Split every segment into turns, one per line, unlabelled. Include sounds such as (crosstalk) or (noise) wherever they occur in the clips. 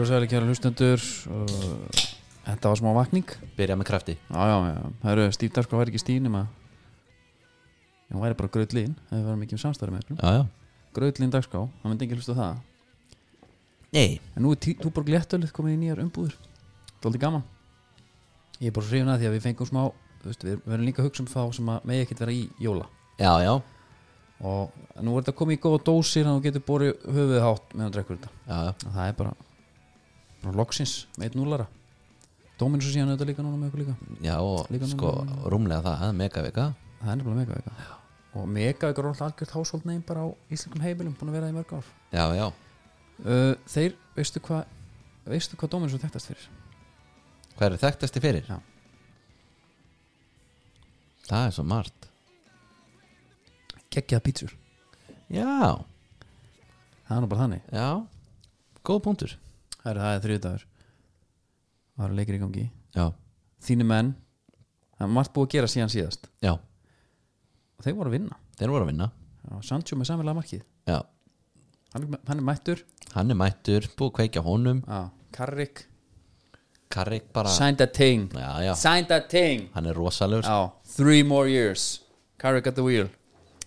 og sæli kæra hlustendur uh, Þetta var smá vakning
Byrja með krafti
Já, já, já, það eru stífdarsko væri ekki stín nema Já, hún væri bara gröðlín ef við varum ekki um samstæri með
Já, já
Gröðlín dagská, það myndi enginn hlusta á það
Nei
En nú er Tí- Túborg Léttölið komið í nýjar umbúður Það er aldrei gaman Ég er bara svo hrifin að því að við fengum smá þú veist, Við verðum líka að hugsa um þá sem að megi ekkert vera í jóla
Já, já
Og nú er þetta komið í góða dósir Þannig að þú getur borið höfuðið hátt meðan þú drekkur þetta
Já, já
Og Það er bara, bara loksins með 1-0-ara Dóminu svo síðan auðvitað líka núna með okkur líka
Já, og
Líka
sko, rúmlega það, það er megavika
Það er nefnilega megaveika Og megaveika er alltaf algjört hásóld neym bara á íslenkum heimilum Búin að vera það í mörg ár
Já, já
uh, Þeir, veistu hvað Veistu hvað Dóminu svo þekktast fyrir?
Hvað eru þekktasti fyrir?
Já.
Það er svo margt
Kekkiða pítsur
Já,
Það er nú bara þannig
já Góð punktur
Það er, það er þriðdagur Það eru leikir í gangi
Já,
Þínu menn Það er margt búið að gera síðan síðast
já
Og þeir voru að vinna
Þeir voru að vinna
Já, Sancho með samilega markið
Já,
Hann, er- hann er mættur
hann er mættur, búið að kveikja honum
Já, Karrik
Karrik bara
Signed a ting
Já, já,
Signed a ting
hann er rosalur
Já, three more years Carrick at the wheel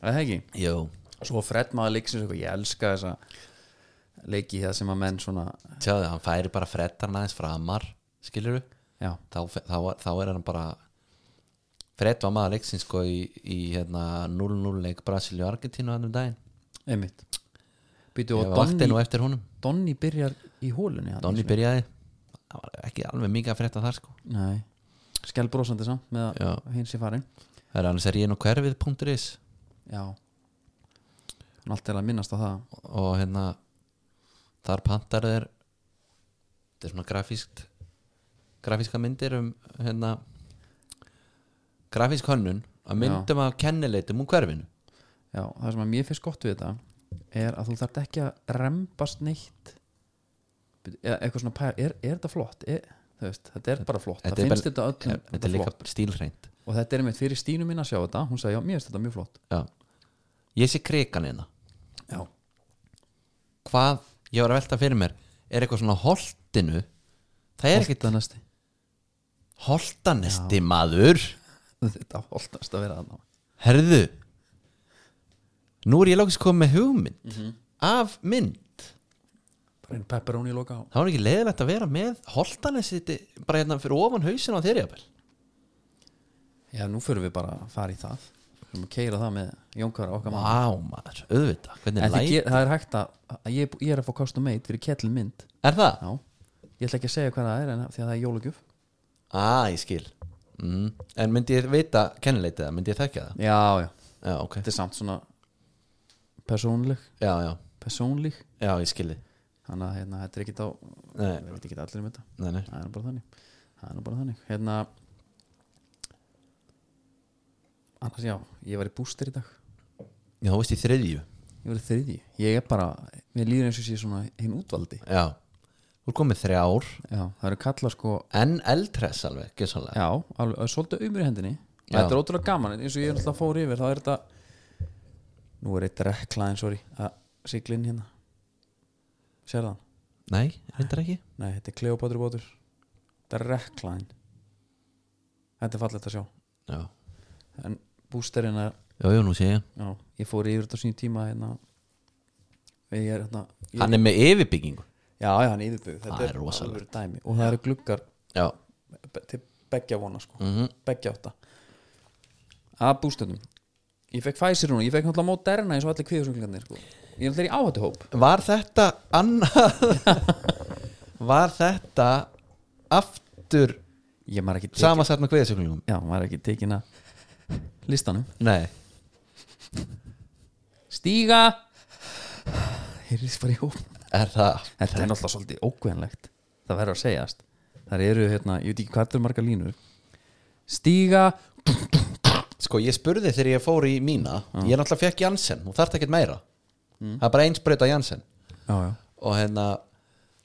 Er Það ekki
Jú,
Svo Fred maður leiksins eitthvað, ég elska þessa leiki það sem að menn svona
tjáðu, hann færi bara freddarna aðeins framar Skilur við?
Já,
Þá, þá, þá er hann bara Fred var maður leiksins sko í, í hérna 0-0 leik Brasilíu og Argentínu hann um daginn
einmitt Býtu
Ég
og
vakti nú
Donny,
eftir honum
Donny byrjar í hólunni hann.
Donni byrjaði Það var ekki alveg mikið að frétta þar sko
Nei, skell brosandi samt með
Já.
að hins í farin
Það er annars er ég nú hverfið.is
Já Hann allt er að minnast á það
og hérna þar pantar þeir þetta er svona grafískt grafíska myndir um hérna grafísk hönnun að myndum af kennileitum úr hverfinu
Já, það sem að mér finnst gott við þetta er að þú þarft ekki að rembast neitt Bíddu, eða eitthvað svona pæl er, er þetta flott? Er, þú veist, þetta er bara flott
Þetta
Það
er
finnst
bara-
þetta öllum
þetta er
flott.
líka stílhreint
og þetta er einmitt fyrir Stínu mín að sjá þetta hún sagði já, mér finnst þetta mjög flott
já. ég sé krikan hérna
já,
hvað ég var að velta fyrir mér er eitthvað svona holtinu það er ekkit
það næsti (laughs)
holtanesti maður
þetta holtast að vera þarna
herðu nú er ég lókist komið með hugmynd af mynd
bara einn pepperoni í loka á
það var ekki leiðilegt að vera með holdanesi bara hérna fyrir ofan hausin á þeirri jafnvel
já, nú fyrir við bara að fara í það við erum að keira það með jónkara okkar mann
Vá maður, auðvitað, hvernig
en
læt
ger, það er hægt að, að ég, er bú- ég er að fá custom made fyrir kettlin mynd
Er það?
já, ég ætla ekki að segja hvað það er en því að það er jólugjöf
Ah, ég skil mm. En myndi ég vita kennileitið það, myndi ég þekka það
já, já,
Já, ok,
þetta er samt svona persónleg
já, já,
persónleg
já, ég skilði
þannig að hérna, þetta er ekkit á
Nei,
ég veit ekki allir um þetta
nei, nei
það er nú bara þannig það er nú bara þannig hérna annars já, ég var í bústir í dag
Já, þú veist í þriðju
ég var í þriðji, ég er bara mér líður eins og sé svona hinn útvaldi
Já, þú er komið þrjár
já, það eru kallar sko
En eldhress alveg, gessanlega
já, alveg, svolítið umur í hendinni
Já.
þetta er ótrúlega gaman, eins og ég er alltaf fór yfir þá er þetta nú er eitt reklaðin, sorry að sigla inn hérna sér það?
Nei, reyndar ekki
Nei, þetta er Kleopatru bátur þetta er reklaðin þetta er fallegt að sjá
Já,
en bústerinn er
já, já, nú sé ég
Já, ég fór yfir þetta á sínum tíma hérna ég er hérna ég,
Hann er með yfirbyggingu
já, já, hann er yfirbyggð
Það
þetta
er rosalegt.
alvöru dæmi og það eru gluggar
Já,
be- til beggja vona sko
mm
beggja átta að bústöndum ég fekk Pfizer núna, ég fekk náttúrulega Moderna eins og allir kviðusunglingarnir sko ég er náttúrulega í áhættu hóp
Var þetta annað (laughs) Var þetta aftur
ég maður ekki tekin
samansett með kveðisöklingum?
já, maður er ekki tekin að listanum
Nei
stíga heyrðis bara í hóp
Er það
þetta er náttúrulega svolítið ókveðanlegt það verður að segjast þar eru hérna, ég veit ekki hvað er marga línur stíga
Sko ég spurði þegar ég fór í mína Ég náttúrulega fekk Janssen og þarf ekkert meira Það er bara eins breyta Janssen
já, já.
Og hérna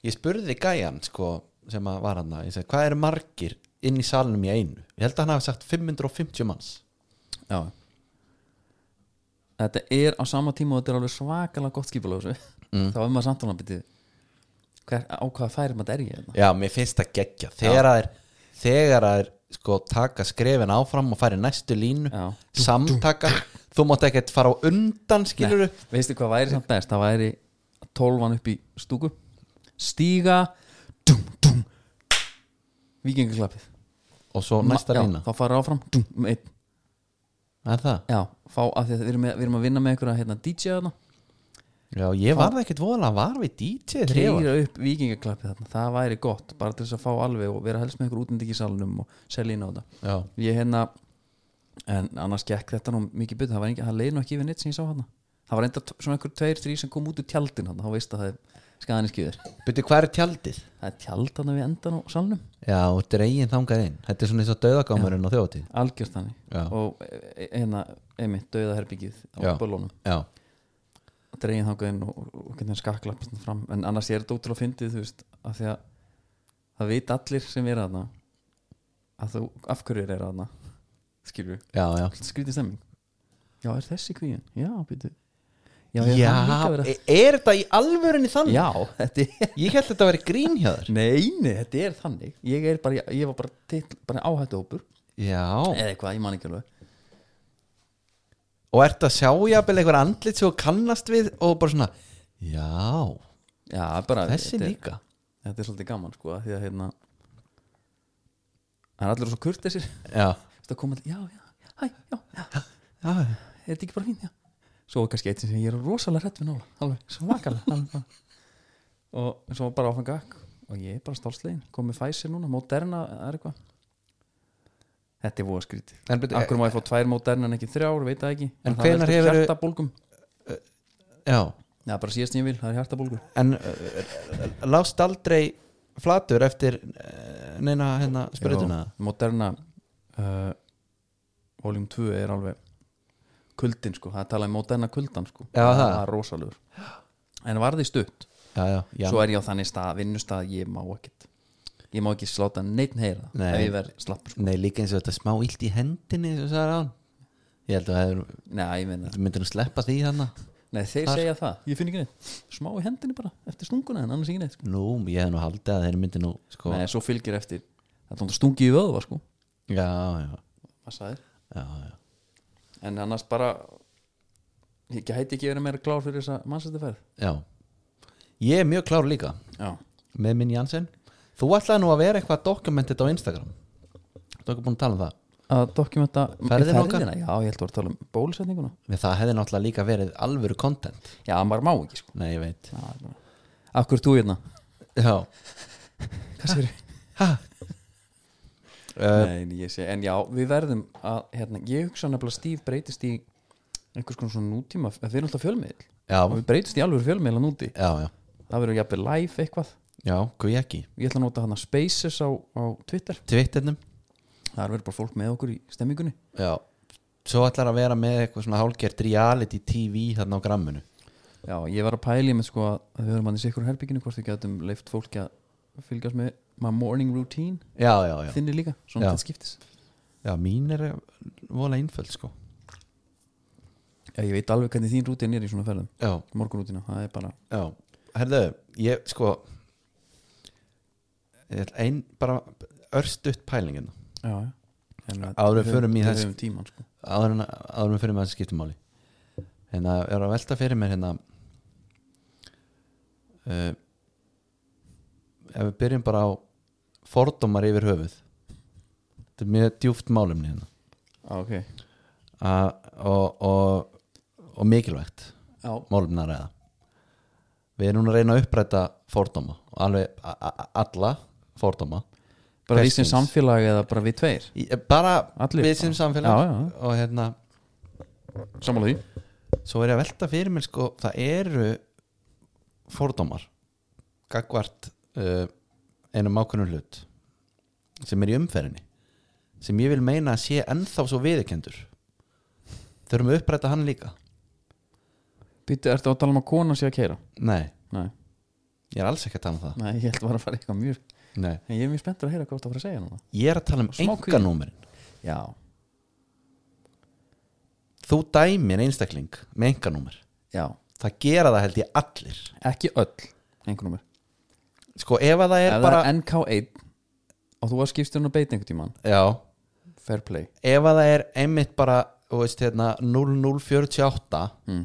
Ég spurði gæjan sko sem að var hann Ég segi hvað eru margir inn í salnum í einu Ég held að hann hafi sagt 550 manns
Já. þetta er á sama tíma og þetta er alveg svakalega gott skipulega mm. þá er maður samtalna bitið hver, á hvaða færi maður er ég hérna
Já, mér finnst það geggja Þegar það er, þegar það er sko, taka skrefin áfram og fara í næstu línu
Já.
samtaka, þú mátt ekkert fara á undan skilur upp
veistu hvað væri samt best, það væri tólvan upp í stúku stíga dum, dum, vikingaklappið
og svo næsta
Ma- já,
lína
þá fara áfram dum, einn,
Er það?
já, fá að því að við erum, með, við erum að vinna með einhverja hérna, DJ þarna
Já, ég varði ekkert voðalega var við DJ
reyra upp vikingaklappið þarna, það væri gott bara til þess að fá alveg og vera helst með einhver útendingi í salnum og selja inn á þetta
Já,
ég hérna en annars gekk þetta nú mikið byggð það, var engin- það leið nú ekki yfir neitt sem ég sá hann það var enda svona einhver tveir, þrý sem kom út úr tjaldin hann, þá veist að það er skaðan í skýður
byrju hvað er tjaldið?
það er tjald hann við endan á salnum
Já, og dregin þangað inn Þetta er svona eins og döðagámurinn á þjóðatíð
algjörst hann
Já.
og e- e- hérna, einmitt, dauðaherbyggið
Já.
á bölunum,
Já,
dregin þangað inn og, og, og hvernig hann skaklappast hann fram en annars er þetta ótrúlega fyndið, þú veist af því að það veit allir sem er þarna að þú, af hverju er þarna skilur við,
já, já
skrítið stemming já, er þessi kvíin, já, býtu já,
Já, e-
er hann líka verið að
er, er þetta í alvörinni þannig?
Já, þetta er
Ég held þetta að vera grín hjá þér
Nei, nei, þetta er þannig Ég, er bara, ég var bara, titl, bara áhættuhópur
Já,
Eða eitthvað, ég man ekki alveg
og ertu að sjá jafnvel einhver andlit sem þú kannast við og bara svona, já
Já, bara
þessi
þetta er-
líka
Þetta er svolítið gaman, sko af Því að hérna Það er allir svo kurt þessir
já,
Þetta kom allir, já, já, hæ, já, já
já,
Er þetta ekki bara fín, já Svo var kannski eitt sem ég er rosalega hrætt við nála Alveg, svakalega alveg bara. Og svo var bara áfram gakk Og ég er bara stálslegin, kom með Pfizer núna Moderna, það er eitthvað Þetta er voða skrítið
en, byrju,
Akkur má ég fá tvær mótarn en ekki þrjár, veit það ekki
eh, En
það
hvenær
veldur
hefurðu-
Hjartabólgum, e-
já,
já bara síðast sem ég vil, það er hjartabólgur
en uh, lást aldrei flatur eftir uh, neina hérna sprituna
Jó, Moderna uh, Volume 2 er alveg kuldin sko, það er talað um Moderna kuldan sko
Já, það.
er rosalur En var því stutt,
já, já, já,
svo er ég á þannig stað vinnustað, ég má ekkit ég má ekki sláta neitt heyra
Nei.
ef ég verð slappur sko.
nei líka eins og þetta smá illt í hendinni sem þú sagði án ég held að það hefur-
sko. Nei, ég meina,
þú myndir að sleppa því þarna
nei þeir
Þar-
segja það Ég finn ekki neitt, smá í hendinni bara eftir stunguna en annars ekki neitt sko.
nú, ég hef nú haldið að þeir myndir nú sko,
Nei, svo fylgir eftir, það er stungi í vöðva sko
já, já,
Massaðir
já, já
en annars bara ég gæti ekki verið meira klár fyrir þessa mannsættiferð
já, ég er mjög klár líka
já,
með minn Jansen þú ætlaði nú að vera eitthvað dokumentið á Instagram þú er ekki búin að tala um það
að dokumenta
Ferðina okkar?
já, ég held að vera að tala um bólusetninguna
en það hefði náttúrulega líka verið alvöru content
já, maður má ekki sko
nei, ég veit
Já, bara- af hverju ert þú hérna
já,
Hvað
(laughs)
segirðu?
uh,
Nei, nei, ég sé, en já, við verðum að hérna, ég hugsa nefnilega að Steve breytist í einhvers konar svona nútíma að við erum alltaf fjölmiðl
já,
og við breytist í alveg fjölmiðla núti
já, já
það verður jafnvel live eitthvað
já, hvað ég ekki
ég ætla að nota hana Spaces á, á Twitter
Twitternum
það verður bara fólk með okkur í stemmingunni
já svo ætlar að vera með eitthvað svona hálgert reality tv þarna á gramminu
Já, ég var að pæli með sko að við höfum hann í sikkur herbygginu hvort við getum leift fólki að fylgjast með my morning routine,
já, já, já,
þinni líka
Já.
svona þetta skiptis.
já mín er vola einföld sko
Já, ég veit alveg hvernig þín rútin er í svona ferðum
já,
morgunrútina, það er bara
já, herðu ég sko ég ætla ein bara örstutt hérna, pælingin
já, já. En að-
Áður en
við
förum í
höfum-
þess-
Við höfum tíman sko
áður en áður en fyrir með þessi skiptumáli hérna, ég er að velta fyrir mér hérna uh, ef við byrjum bara á fordómar yfir höfuð þetta er mjög djúft málumni hérna
Já, ok
A, og, og, og mikilvægt
Já,
málumni að ræða við erum núna að reyna að uppræta fordóma og alveg a, a, a- alla fordóma
bara við
Hvers
sem
kyns.
samfélag eða bara við tveir
Í- bara
Allir.
við sem samfélag
Já, já.
og hérna
Samála því
svo er ég að velta fyrir mér sko það eru fordómar gagvart uh, einum ákveðnum hlut sem er í umferðinni sem ég vil meina að sé ennþá svo viðurkendur þurfum við að uppræta hann líka
Býttu, ertu að tala um að kona sé að keira?
nei,
Nei,
ég er alls ekki að tala um það
Nei ég held bara að fara eitthvað mjög
nei.
En ég er mjög spenntur að heyra hvað þú ert að fara að segja núna
ég er að tala um
Smá kvíði.
enganúmerin
Já,
þú dæmir einstakling með enganúmer
já,
það gera það held ég allir
ekki öll einhvernúmer
sko ef að það
ef
er
það
bara
er NK1 og þú var skipstjórn að beita einhvern tímann
já,
fair play
ef að það er einmitt bara þú veist, hérna, 0048
mm.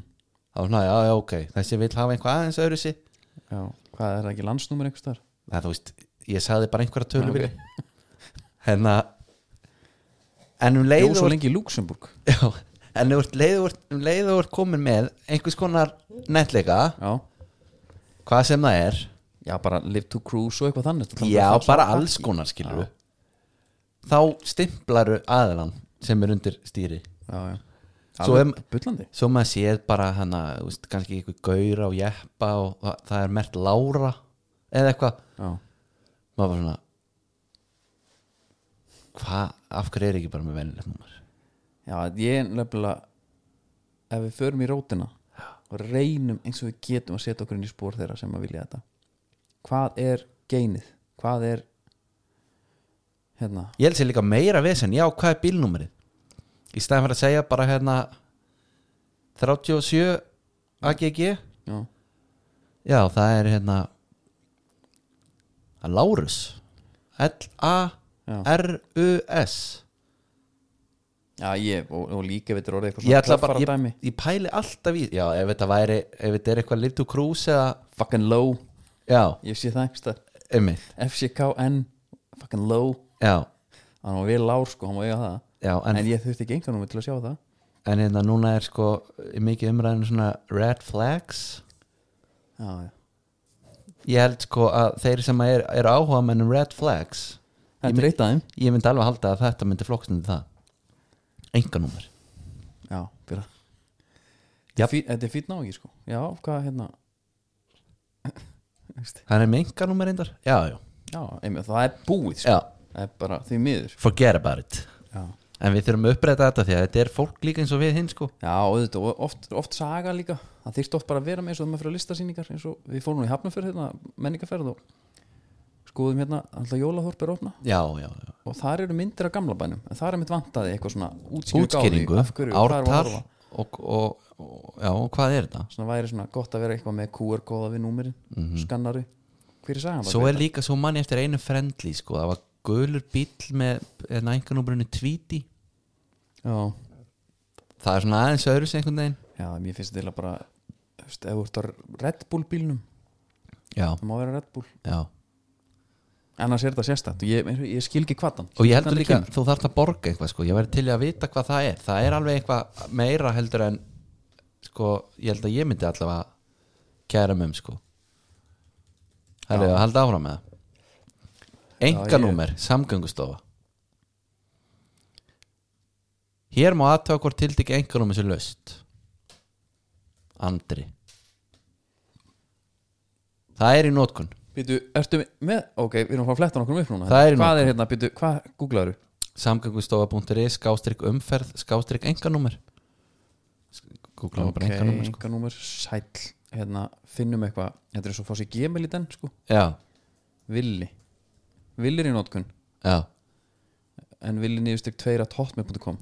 þá er svona, já, já, ok, þessi vill hafa einhvað aðeins öðru sér
já, hvað er það ekki landsnúmer einhvers þar
það þú veist, ég sagði bara einhverja
Já,
tölu
ok.
okay. (laughs) hérna en um
Jú,
leiðu
svo lengi í Luxemburg
(laughs) já, en um leiðu, um leiðu úr komin með einhvers konar netleika
Já,
hvað sem það er
já bara live to cruise og eitthvað þannig Þetta er
já,
falla-
bara alls konar skilur þá stimplaru aðlan sem er undir stýri
Já, já
Svo
Alveg bullandi
svo maður séð bara hana þú veist, kannski einhver gaur á jeppa og það, það er mert lára eða eitthvað,
Já,
maður bara svona hvað, af hverju er ekki bara með venilegt númer
já ég er nefnilega ef við förum í rótina og reynum eins og við getum að setja okkur inn í spór þeirra sem að vilja þetta hvað er geinið hvað er hérna
ég held sér líka meira vesen, já hvað er bílnúmerið í staðan fyrir að segja bara hérna 37 AGG já
já,
það er hérna það er Lárus
Já.
L-A-R-U-S
já ég og, og líka veitur orðið eitthvað
ég ætla bara,
töffara dæmi.
ég, ég pæli alltaf í já ef þetta væri, ef þetta er eitthvað live to cruise eða,
fucking low,
já,
ég sé það einhversta
einmitt
FCKN, fucking low
já,
hann var vel lár sko, hann var eiga það
já,
en,
en, en,
ég þurfti ekki engan um til að sjá það
hérna núna er sko mikið umræðinu svona red flags
já, já
ég held sko að þeir sem er, er áhuga mennum red flags
Þetta er eitt af þeim
ég myndi alveg halda að þetta myndi flokkstundi það enganúmer
Já, byrja
Já.
Þetta er fí- Þetta er fýtt nági sko Já, hvað hérna (laughs) Veist,
hann er með enganúmer reyndar já, já,
Já, einmitt, það er búið sko.
já,
Það er bara því miður
forget about it
Já,
en við þurfum að uppræta þetta því að þetta er fólk líka eins og við hinn sko
Já og þetta, og oft, oft saga líka Það þyrfti oft bara að vera með eins og það maður fyrir listasýningar eins og við fórum nú í Hafnarferð hérna, menningarferð og skoðum hérna alltaf jólaþorp er að opna
já, já, já,
og þar eru myndir af gamla bænum en þar er mitt vantaði eitthvað svona útskýringu á því,
útskýringu,
af hverju, hvað er að
ártal
horfa.
og, og, og, já, og hvað er þetta
svona væri svona gott að vera eitthvað með QR-kóða við númerin, skannari hver er sagan?
Mhm. svo er líka, svo mann ég eftir einu friendly sko, það var gulur bíll með hérna, enganúmerinu tvíti
Já,
það er svona aðeins öðru sem einhvern veginn
já, mér finnst þetta bara þú veist, ef þú ert á Red Bull bílnum
já,
það má vera Red Bull,
já
annars er þetta sérstætt og ég, eins og- ég skil ekki hvað hann
og ég heldur líka, þú þarft að borga eitthvað sko. ég væri til í að vita hvað það er það er alveg eitthvað meira heldur en sko, ég held að ég myndi allavega kæra mig um sko Herri,
Já.
að halda áfram með það enganúmer, samgöngustofa hér má aðtöða hvort tiltekið enganúmer sér löst andri það er í nótkun
Býtu, ertu með, ok, við erum að fara að fletta nokkur upp núna
Það er í
Hvað er hérna, býtu, hvað googlaður?
samgöngustofa.is skástrík umferð skástrík enganúmer Google okay. bara enganúmer sko.
enganúmer, sæll hérna, finnum eitthvað, þetta er svo að fá sér gemil í den, sko,
já,
villi villi er í nótkun,
já,
en villi niðurstykk tveir að hotmail.com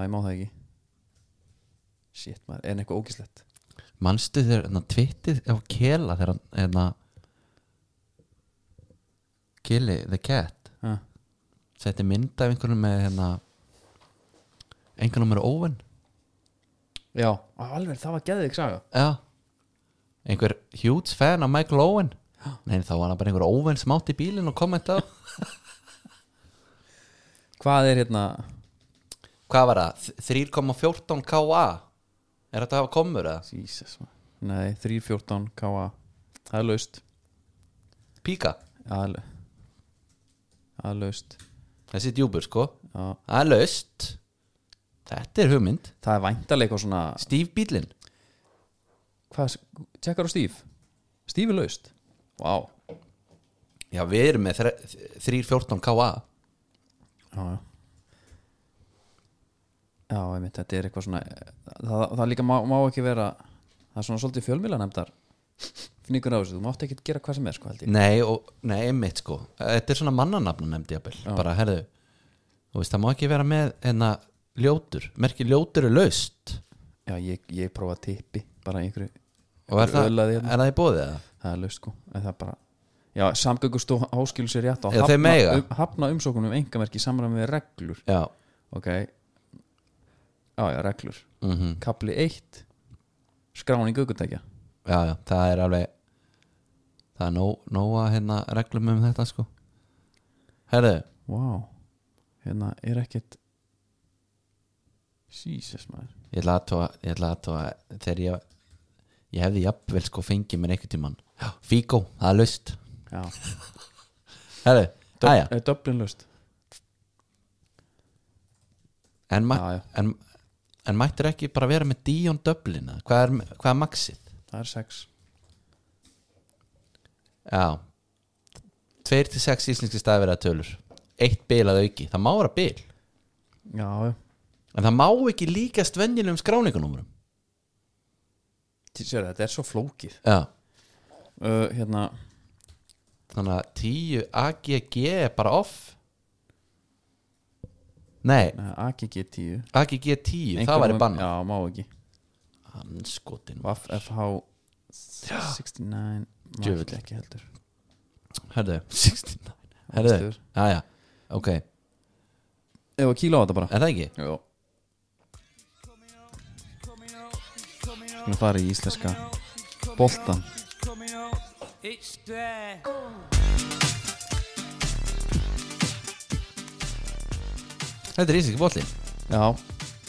Æ, má það ekki Shit, maður, er hann eitthvað ógislegt
manstu þér hérna, tvittið á Kela þegar hann hérna, Kili the cat
Ha,
setti mynd af einhvernum með hérna, enganúmer óven
Já, á, alveg, það var geðið ekki saga
já einhver huge fan af Michael Owen Nei, þá var hann bara einhver óven sem átti bílinn og kommentaði á.
Hvað er hérna
Hvað var það? 3,14 KA Er þetta að hafa komur eða?
Jesus, maður. Nei, 314 KA Það er laust
Píka?
Það er- það er laust
Þessi djúbur sko
Já.
Það er löst Þetta er hugmynd
Það er væntalega eitthvað svona
Steve Bílin
Hvað, tjekkar á Steve? Steve er laust Vá
Já við erum með þre- 314 KA
Já, já Já, einmitt, þetta er eitthvað svona það, það líka má, má ekki vera það er svona svolítið fjölmýla nefndar fningur á þessu, þú mátt ekki gera hvað sem er sko held ég
Nei og Nei einmitt sko Þetta er svona mannanafna nefndi jafnvel Bara herðu Þú veist það má ekki vera með enna ljótur Merki ljótur er löst
Já, ég, ég prófa tippi bara í einhverju
og er það,
Ölaði
er
hérna.
það í bóðið eða?
það er löst sko en það er bara já, samgöngustó áskilu sér rétt á að
Já, þeir mega.
um, hafna umsókunum um engamerki samræmi við reglur
já,
ok já, já, reglur
mm
kapli 1 skráning aukutækja
já, já, það er alveg það er nóg, nóg að hérna reglum um þetta sko herðu,
wow hérna er ekkert Jesus maður
ég ætla aðtóa ég ætla aðtóa þegar ég ég hefði jafnvel sko fengið mér einhvern tímann Já, Fíkó, það er laust
já,
herðu, aðja,
er Dublin löst
en, ma
já, já,
en, en mættir ekki bara vera með Dion Dublin eða? hvað er, hvað er maxið?
það er 6
Já 2-6 íslenski staðverða tölur Eitt bil að auki, það má vera bil
já, já
En það má ekki líkast venjulegum skráningunúmurum
Þið Sér, þetta er svo flókið
Já,
uh, hérna,
þannig að 10 AGG er bara off Nei,
eh, AGG 10
AGG 10, það
Einhverjum-
væri banna
já, má ekki
Hann skotin
Vaff FH 69
Djöfull.
Djöfull ekki heldur
Herðu, 69 Herðu,
Stuður.
já já, ok Er
Ef að kíla á þetta bara
það ekki?
Jó Skulum fara í íslenska Boltan
coming up, it's there.
Þetta er íslenski bóllin
Já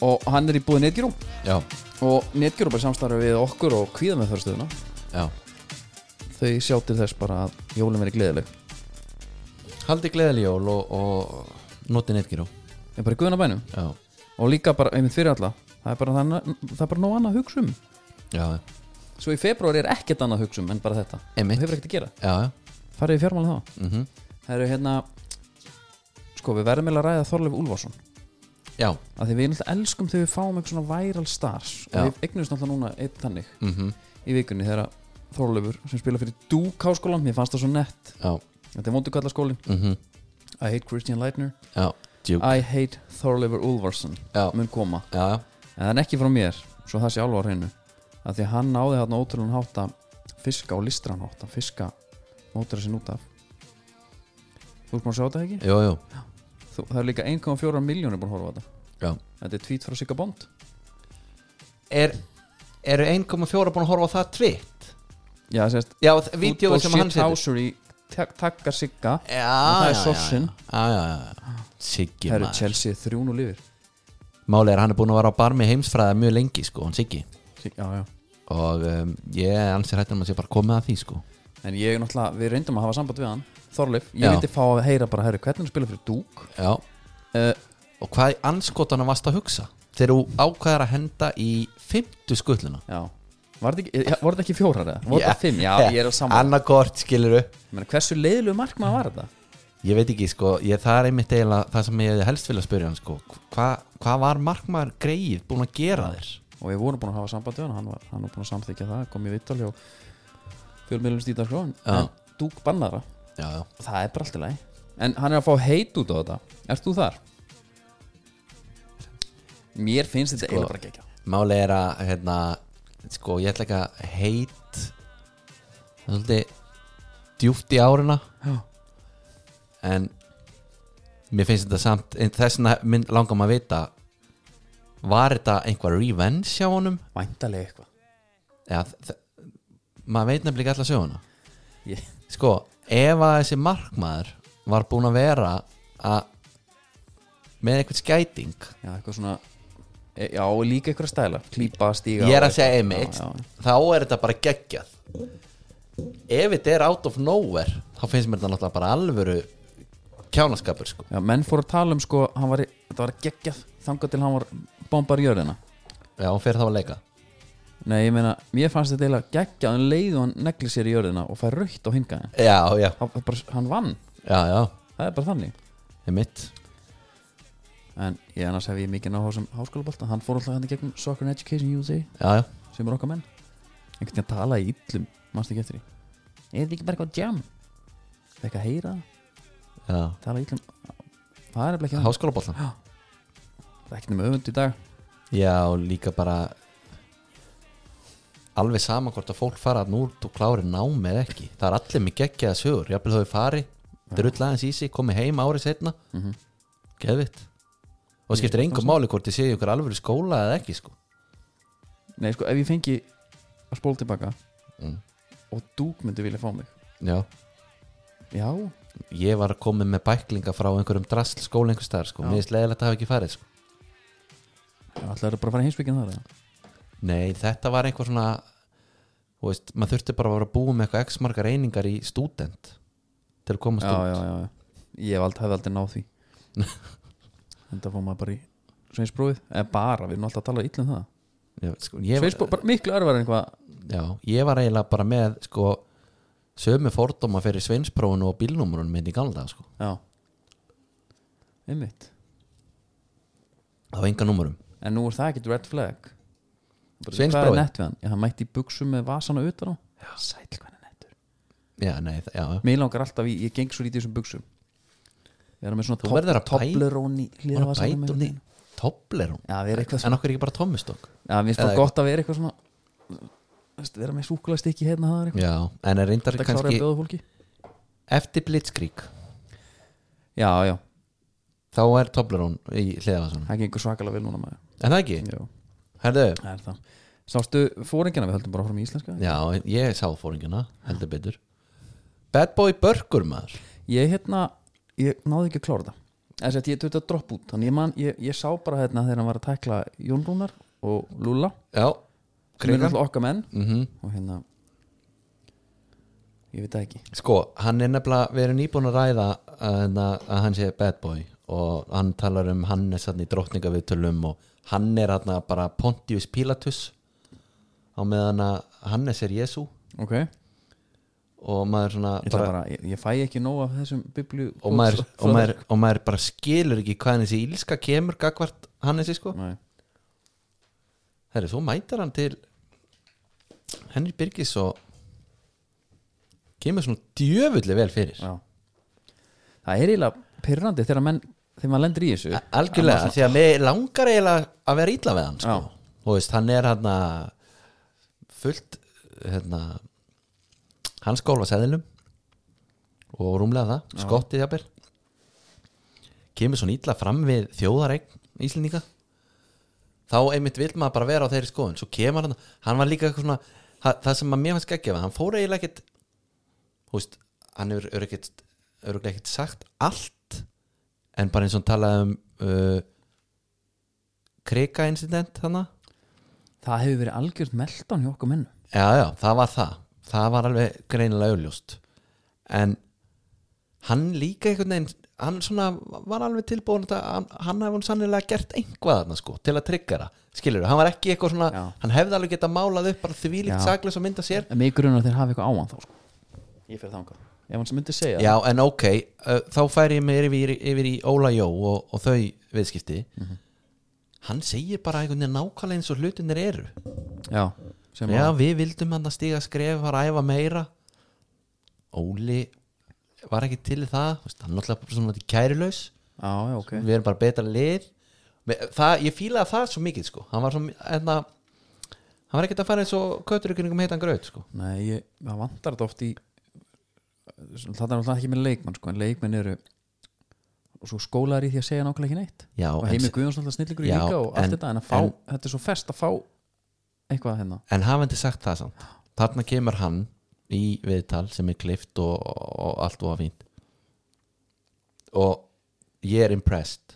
Og hann er í búið Netgyro
Já,
Og Netgyro bara samstarfi við okkur og kvíða með þörstuðuna
já
Þau sjá til þess bara að jólum verið gleðileg
Haldi gleðiljól og, og noti netgiró
Ég er bara í guðuna bænum
Já,
Og líka bara einmitt fyrir alla Það er bara, það, það er bara nóg annað að hugsa um
já, já
Svo í februar er ekkert annað að hugsa um en bara þetta
Einmitt.
Þú hefur ekkert að gera
Já, já,
Farið í fjármálið þá
mhm
Það eru hérna Sko við verðum eiginlega að ræða Þorleif Úlfarsson
Já,
að því við náttúrulega elskum þegar við fáum eitthvað svona viral stars
Já.
og við eignumst náttúrulega núna einn tannig
mhm
í vikunni þegar að Þorleifur sem spila fyrir Duke háskólan mér fannst það svo nett
Já,
þetta er vondu kalla
mhm
I hate Christian Leitner
Já, djúk
I hate Þorleifur Úlfarsson
Já,
mun koma
já, já,
en það er ekki frá mér svo það sé alvar hreinu að því að hann náði þarna ótrúlega hátt að fiska og listran hátt að fiska mótur þessi nút af Þú ert maður að sjá þetta ekki?
jú, jú
Þú, það er líka 1,4 miljónir búin að horfa á þetta
já.
Þetta er tweet frá Sigga Bond
Er, Eru 1,4 búin að horfa á það tvitt?
Já, það sést
Já, vídeo sem hann setur
setur takkar Sigga
Já,
það er
já, já,
sossin.
Já, já, já, já. Siggi
Það eru
maður
Chelsea 3-0 yfir
Máli er hann er búin að vera á barmi heimsfræða mjög lengi sko, hann Siggi
Sig- Já, já
Og um, ég er ansið hættum að sé bara komið að því sko
En ég er náttúrulega, við reyndum að hafa samband við hann Þorleif, ég
Já.
vildi fá að heyra bara herri, hvernig hann spila fyrir Dúk
Já
Eh.
Uh, Og hvað anskotanum varst að hugsa? Þegar þú ákvæðar að henda í fymtu skulluna
Já Var þetta ekki, já, voru þetta ekki fjórar eða? Voru þetta fimm? Já, ég er á saman
Annarkort skilur upp
Menn, Hversu leiðilegu markmaður var þetta?
Ég veit ekki sko, ég, það er einmitt eiginlega það sem ég hefði helst vilja spyrja hann sko Hva- Hvað var markmaður greið búin að gera þér?
Og við vorum búin að hafa samband við hann Hann var, hann var búin að samþykja það, kom í vittali og fjölmiðlum stýta skrón
Já.
En Dúk bannar það
Já, já
og það er bara allt í lagi En hann er að fá heit út á þetta Ert þú þar? Mér finnst
Sko-
þetta eiginlega bara gekka
Máli er að, hérna, sko, ég ætla ekki að heit það er Svolítið djúft í árina
Já.
En Mér finnst þetta samt, en þess vegna minn- langar maður að vita Var þetta einhver revenge hjá honum?
Væntalega eitthvað
Já, þ- maður veit nefnilega allar söguna
Ég-
sko, ef að þessi markmaður var búin að vera að með einhvern skæting
Já, eitthvað svona e- Já, og líka eitthvað stæla Klípa, stíga
ég er
og
að segja
eitthvað.
einmitt
Já,
þá er þetta bara geggjað ef þetta er out of nowhere þá finnst mér þetta náttúrulega bara alvöru kjánaskapur sko
já. já, menn fóru að tala um sko hann var, í- Þetta var geggjað Þangað til hann var bombar í jörðina
já, hún fyrir þá að leika
Nei, ég meina Mér fannst þetta eiginlega geggjað En leið og hann negli sér í jörðina Og fær raukt á hingaðin
já, já,
hann, bara- hann vann
já, já,
Það er bara þannig
einmitt
En ég annars hef ég mikið náhá sem háskólabolta Hann fór alltaf hann í gegnum Soccer and Education USA
já, já,
sem er okkar menn einhvern veginn tala í illum mannst ekki eftir því er þetta ekki bara eitthvað jam það er ekki að heyra það,
já.
tala í illum það er nefnilega ekki hann
háskóla bóllan
það er ekki nema öfund í dag
Já, og líka bara alveg sama hvort að fólk fara að núr og klári nám eða ekki það er allir með geggjaða sögur, jafnvel þau fari drull aðeins í sig, komi heim árið setna mm
Mhm.
-hmm. geðvitt og það skiptir engum máli hvort þið séu ykkur alveg skóla eða ekki sko
Nei, sko, ef ég fengi að spóla tilbaka
Mm.
og dúk myndi vilja fá mig
Já.
Já,
ég var komið með bæklinga frá einhverjum drasl skóla einhver staðar sko,
Já.
mér er slegilegt að hafa ekki farið sko.
alltaf er bara að fara heimsbyggin þar eða?
nei, þetta var einhver svona þú veist, maður þurfti bara að vera að búa með eitthvað x margar einingar í student til að komast
já,
út
já, já, já Ég hef aldrei, hef aldrei náð því Þetta fór maður bara í sveinsprófið Eða bara, við erum alltaf að tala illa um það
Já, sko, ég,
Sveinsprófið, bara miklu örvar en hvað
já, ég var eiginlega bara með sko, sömu fordóma fyrir sveinsprófun og bílnúmurun minn í galda sko.
Já Einmitt
það var enga númurum
En nú er það ekkert red flag Bara,
Sveinsprófið?
Hvað er nett við hann? Já, hann mætti í buksum með vasana utan á Sæll hvað hann er nettur
já, nei, þa- já, já.
Mér langar alltaf, í, ég geng svo lítið í þessum buksum Ég er með svona
Þú verður að bæ-
toblerón í
Var að
hliðavasanum
bæta
einhvern
hún í
veginn.
toblerón
Já, við erum eitthvað
en okkur er ekki bara tommistokk
Já, mér finnst
Eða
bara gott að vera eitthvað svona veist, vera með súkulastikki hérna það er eitthvað
já, en er reyndar
Þetta klára að
kannski
bjóða fólki
eftir blitzkrík
Já, já,
þá er toblerón í hliðavasanum
það gengur svakalega vel núna maður
en það ekki,
Já,
herðu
það er það Sástu fóringina, við höldum bara frá í íslenska
já, ég sá fóringina, heldur betur bad boy burger maður
Ég hérna, ég náði ekki að klára það Þess að ég tötti að droppa út Þannig ég, man, ég, ég sá bara hérna þegar hann var að tækla Jón Rúnar og Lúlla
já,
sem er
krigan
alltaf okkar menn
mm
og hérna ég veit það ekki
Sko, hann er nefnilega, við erum nýbúin að ræða að, að hann sé bad boy og hann talar um Hannes hann í drottningaviðtölum og hann er hann bara Pontius Pilatus á meðan að Hannes er Jésu
Ok, ég,
og maður svona
ætla
bara,
bara, ég, ég fæ ekki nóg af þessum biblíu (laughs)
og, maður, og, maður, og maður bara skilur ekki hvaðan þessi ílska kemur gagvart Hannesi sko
Nei.
Herri, svo mætar hann til Henry Birgis og kemur svona djöfulli vel fyrir
Já. Það er eiginlega pyrrandi þegar menn, þegar maður lendir í þessu
A- algjörlega, því að mig langar eiginlega að vera illa við hann sko.
Já.
og veist, hann er hann fullt hérna, hann skóla sæðilum og rúmlega það, skottið jafnir kemur svona illa fram við þjóðareign íslendinga þá einmitt vil maður bara vera á þeirri skoðun svo kemur hann, hann var líka eitthvað svona það, það sem að mér fannst geggjafa, hann fór eiginlega ekkit þú veist, hann hefur örugglega ekkit, örugglega ekkit sagt allt en bara eins og hann talaði um uh, krika incident þannig
Það hefur verið algjörð meldan hjá okkur menn
já já, það var það það var alveg greinilega auðljóst en hann líka einhvern veginn hann svona var alveg tilbúin að hann, hann hefði sannilega gert einhvað þarna sko til að tryggra það, skilur hann var ekki eitthvað svona,
Já.
hann hefði alveg getað málað upp bara þvílíkt
Já.
saklis og mynda sér
En mig grunar að þeir hafa eitthvað á hann þá sko. Ég fyrir þangað Ef hann sem myndi segja
Já, en ok, uh, þá færi ég mér yfir, yfir í Óla Jó og, og þau viðskipti
Mhm.
Hann segir bara einhvern veginn nákvæmlega eins og hlutinir eru
það Já, sem
Já,
að
við vildum hann að stíga skref var að æfa meira Óli var ekki til í það þú veist, hann er náttúrulega bara svona kærilaus
Já, já, ok
við erum bara betra lið Við- það, ég fílaði það svo mikið sko hann var, svo, enna, hann var ekkert að fara eins og kötturukningum heitan gröð sko.
Nei, ég, það vantar þetta oft í Það er náttúrulega ekki með leikmann sko, En leikmenn eru Og svo skólar í því að segja nákvæmlega ekki neitt
Já,
Og
en-
heimi Guðjóns náttúrulega snillingur í
Já,
líka og allt
en-
þetta En að fá,
en-
þetta er svo fest að fá Eitthvað hérna
en hafandi sagt það samt þarna kemur hann í viðtal sem er klift og, og allt og að fínt og ég er impressed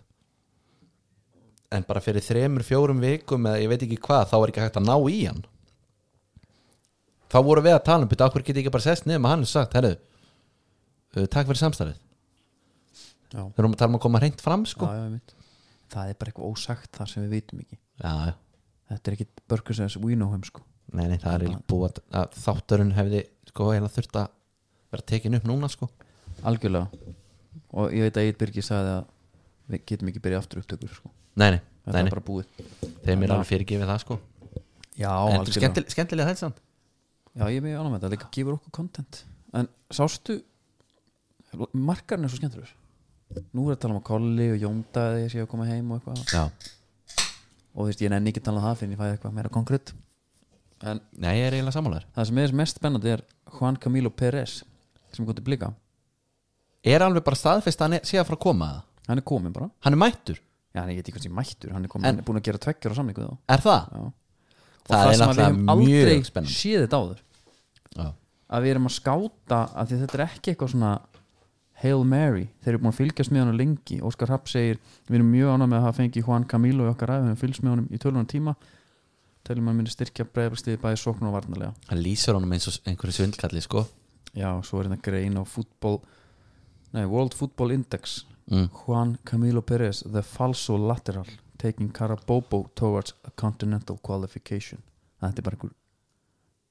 en bara fyrir þremur, fjórum vikum eða ég veit ekki hvað, þá er ekki hægt að ná í hann þá voru við að tala um byrja, okkur geti ekki bara sest niður með hann og sagt, herru, uh, takk fyrir samstarfið
Já,
við erum að tala um að koma hreint fram sko
já, já, einmitt. Það er bara eitthvað ósagt þar sem við vitum ekki
já, já,
Þetta er ekki Burgers as we know him sko.
nei, nei, það er eiginlega búið að- að þátturinn hefði sko, eiginlega þurft að vera tekin upp núna sko
Algjörlega Og ég veit að Egil Birgir sagði að við getum ekki byrjað aftur upptökur sko.
nei, nei,
Þetta
nei,
er
nei.
bara búið
þeim er alveg fyrirgefið það sko
Já,
en þetta er skemmtilega, skemmtilega þelsan
Já, ég er mjög ánægð með þetta, líka gefur okkur content En sástu Markarinn er svo skemmtilegur Nú er að tala um að Kolli og Jónda eða ég sé að koma heim og eitthvað
já,
Og þú veist, ég nenni ekki að tala um það fyrir en ég fæði eitthvað meira konkrétt en
Nei, ég er eiginlega sammálaður
það sem er mest spennandi er Juan Camilo Pérez sem kom til blika,
Er alveg bara staðfest að hann er- sé að fara að koma að það
hann er komin bara
Hann er mættur,
já, hann er ég veit ekki hvernig mættur, hann er komin,
En-
hann er búin að gera tveggjur á samlingu þá
er það?
já. og sem að
Það er
við
náttúrulega
hefum
mjög
aldrei
spennandi.
séð þetta áður
Já,
að við erum að skáta að því þetta er ekki eitthvað svona Hail Mary, þeir eru búin að fylgjast með honum lengi Óskar Happ segir, við erum mjög ánægð með að hafa fengið Juan Camilo í okkar ræðu, við erum fylgst með honum í tölunar tíma teljum að minni styrkja breyðarsliði bæði sókn og varnarlega
hann lýsir honum eins og einhverju svindkalli sko
já, svo er þetta grein á fútbol nei, World Football Index
mm.
Juan Camilo Perez, the falso lateral taking Carabobo towards a continental qualification þetta er bara einhver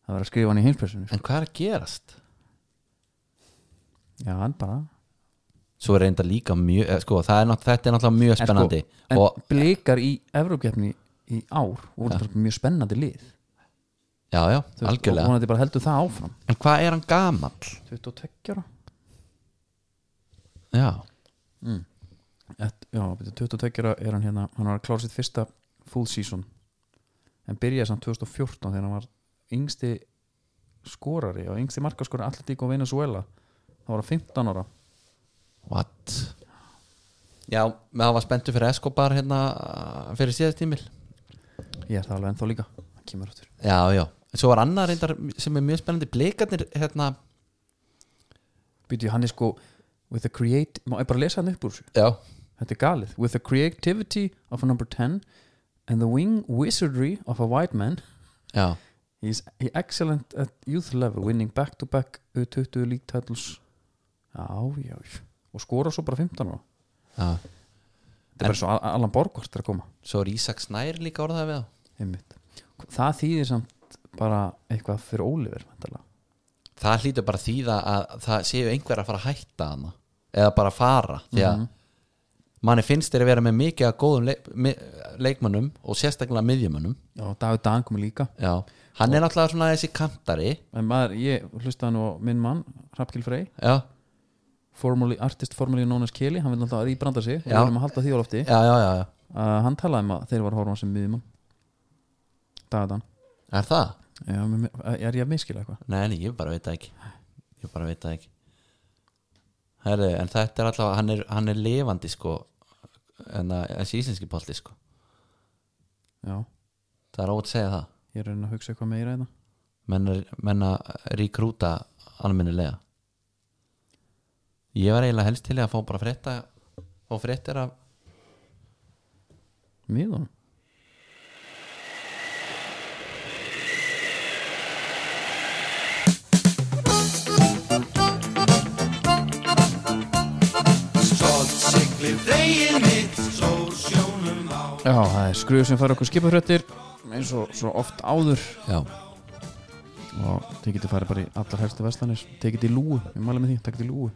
það var að skrifa hann í heimspressinu sko.
En hvað er að gerast?
já, hann bara,
Svo er reynda líka mjög, eh, sko, það er nátt, þetta er náttúrulega mjög
En sko,
spennandi
en
og,
blikar í Evrókeppni í ár og voru bara mjög spennandi lið
Já, já,
Þú veist, og
algjörlega
vonandi bara heldur það áfram
En hvað er hann gamall?
22 ára
Já,
Et, já, byrju, 22 ára er hann hérna hann var að klára sitt fyrsta full season en byrjaði samt 2014 þegar hann var yngsti skorari og yngsti markaskorari Atletík og Venezuela þá var hann 15 ára
what? Já, með það var spenntur fyrir Escobar hérna eh, fyrir síðast tímil
ég er það alveg ennþá líka hann kemur áttur
Já, já, en svo var annar reyndar sem er mjög spennandi Blikarnir, hérna
byrju, hann er sko with the create má ég bara lesa hann upp úr þessu
Já,
Þetta er galið With the creativity of a number 10 and the wing wizardry of a white man
já
he's he excellent at youth level winning back-to-back U20 league titles Já, já já. og skora svo bara 15 ára
Já.
Þetta er bara svo Al- Alan Borgvart er að koma
Svo er Ísak Snær líka orðað við þá
einmitt. Það þýðir samt bara eitthvað fyrir Oliver væntanlega.
Það hlýtur bara að þýða að það séu einhver að fara að hætta hana eða bara að fara því að manni finnst þeir að vera með mikið að góðum leik, mi- leikmönnum og sérstaklega miðjumönnum
Já, Dagur Dan komið líka
Já, hann er náttúrulega svona þessi kantari
en maður, ég hlustaði nú á minn mann Hrafkil Frey,
Já,
formerly, artist formerly known as Kelly, hann vil alltaf íbranda sig og við
Já.
erum að halda því á lofti
já, já, já, já.
uh, hann talaði um að þeir var að horfa á hann sem miðjumann dagadan
Er það?
Já, mér- er ég að miskila eitthvað
Nei, nei, ég bara veit það ekki Ég bara veit það ekki Herri, en þetta er allavega hann er, hann er lifandi sko en að þessi íslenski bolti sko
já,
það er ótt að segja það
ég er að reyna að hugsa eitthvað meira eða
menn, er- menn að rekrúta almennilega ég var eiginlega helst til í að fá bara frétta og fréttir af
miðunum Já, það er skruð sem fara okkur skipafröttir eins og svo oft áður
já,
og þið getur farið bara í allar helstu vestanir tekið þetta í lúu, ég mæli með því, takk þetta í lúu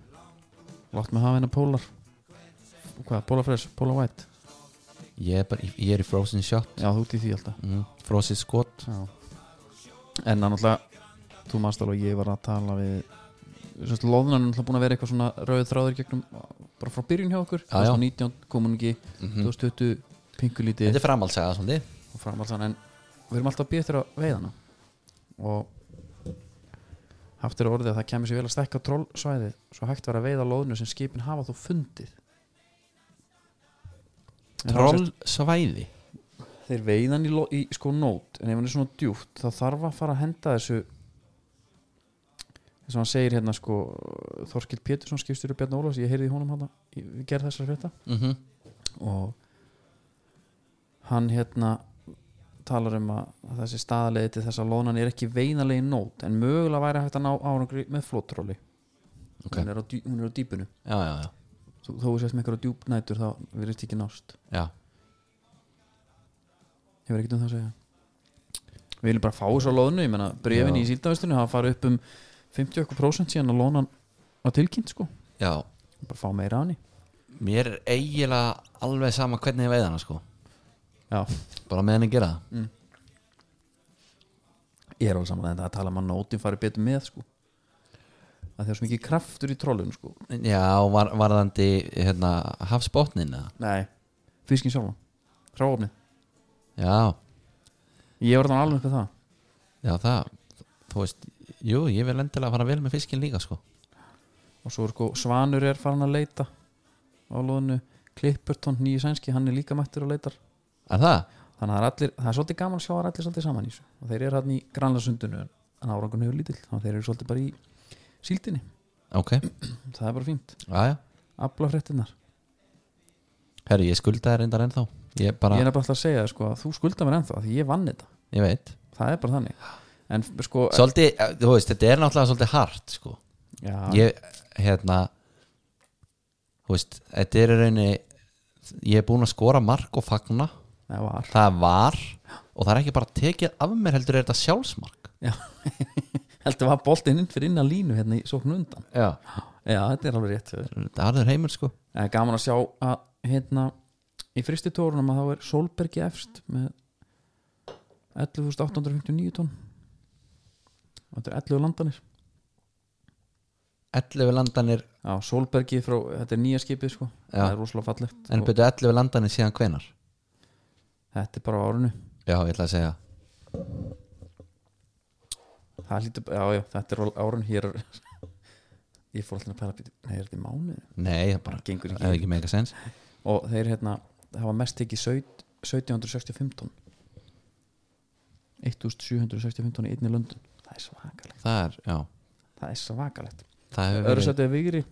látt með hafa hennar pólar hvað, pólafres, póla white
ég, er bara, ég er í frozen shot
já, þú ert í því alltaf
mm, frozen skot
já. en hann alltaf þú maður stálega, ég var að tala við Sjöst, loðunan er alltaf búin að vera eitthvað svona rauð þráður í gegnum bara frá byrjun hjá okkur
Já, já.
2019 kom hún ekki,
Mhm.
2020 pinkulíti
þetta er framhaldsæða svolítið
og framhalsan en við erum alltaf að býja eftir að veiðana og haft er orðið að það kemur sér vel að stekka trollsvæði svo hægt var að veiða loðnu sem skipin hafa þó fundið En þá sést-
trollsvæði
þeir veiðan í, lo- í sko nót en ef hann er svona djúpt þá þarf að fara að henda þessu eins og hann segir hérna sko Þorkild Pétursson skipstýri Bjarni Ólafs ég heyrði í honum hann að gera þessar frétta
mm -hmm.
og hann hérna talar um að að þessi staðalegi til þess að lónan er ekki veinalegi nót en mögulega væri hægt að ná árangri með flótróli
Ok.
hún, er á dý- hún er á dýpinu
já, já, já,
þó þó þú sést með einhverja djúpnætur þá verðist ekki nást
já.
hefur ekkert um það að segja við viljum bara fá þessu á lónu ég menna brefin
Já.
í síldavistunni hafa farið upp um 50% síðan að lónan var tilkynnt sko
já.
bara fá meira af henni
mér er eiginlega alveg sama hvernig ég veið hana sko
já
bara með henni gera það
ég er alveg saman þetta að tala um að nótin farið betur með sko að það er svo mikið kraftur í trollun sko
já, var, varðandi hérna, hafsbotnin eða?
Nei, fiskin sjálfan Hráfni
já,
Ég var þannig alveg upp við það
já það, þú veist jú, ég vil endilega fara vel með fiskinn líka sko
og svo er sko Svanur er farin að leita á loðinu Klippurton, nýju sænski, hann er líka mættur og leitar
er það?
þannig að það er, allir, það er svolítið gaman að sjá að það er allir svolítið saman í þessu og þeir eru hann í Granlasundinu en árangun hefur lítill, þannig að þeir eru svolítið bara í síldinni,
ok,
það er bara fínt
aðja,
aflafréttinnar,
herru ég skulda þér reyndar ennþá ég bara,
ég er
ég,
bara alltaf að segja þér, sko, að þú skulda mér ennþá, af því ég vann þetta
veit
það er bara þannig en sko,
svolítið, eh, þú veist, þetta er náttúrulega svolítið hart sko,
já,
ég, hérna þú veist, þetta er í rauninni ég er búin að skora mark og fagna
það var
það var og það er ekki bara tekið af mér heldur er þetta sjálfsmark
já. heldur var boltinn inn fyrir innan línu hérna í sóknu undan
já,
já, þetta er alveg rétt hjá þér.
það harður heimur sko
Það er gaman að sjá að hérna í fristitórunum að þá er Solbergi efst með 11.859 tónn og þetta er 11 landanir
11 landanir,
Já, Solbergi frá, þetta er nýja skipið sko
Já.
það er rosalega fallegt
en
og
betur 11 landanir síðan hvenar
þetta er bara á árinu
já, ég ætla að segja
það lítur, já, já, þetta er á árinu hér er, (laughs) ég fór alltaf að pæla býti nei, er þetta í mánuði?
nei, það bara,
Það gengur
það er
ekki
ekki mega sens
og þeir hérna, hafa mest tekið saut- 1765 tónn 1765 tónn í einni löndun það er svakalegt,
það er, já,
það er svakalegt
það hefur
öðru
verið
sætið er Vigri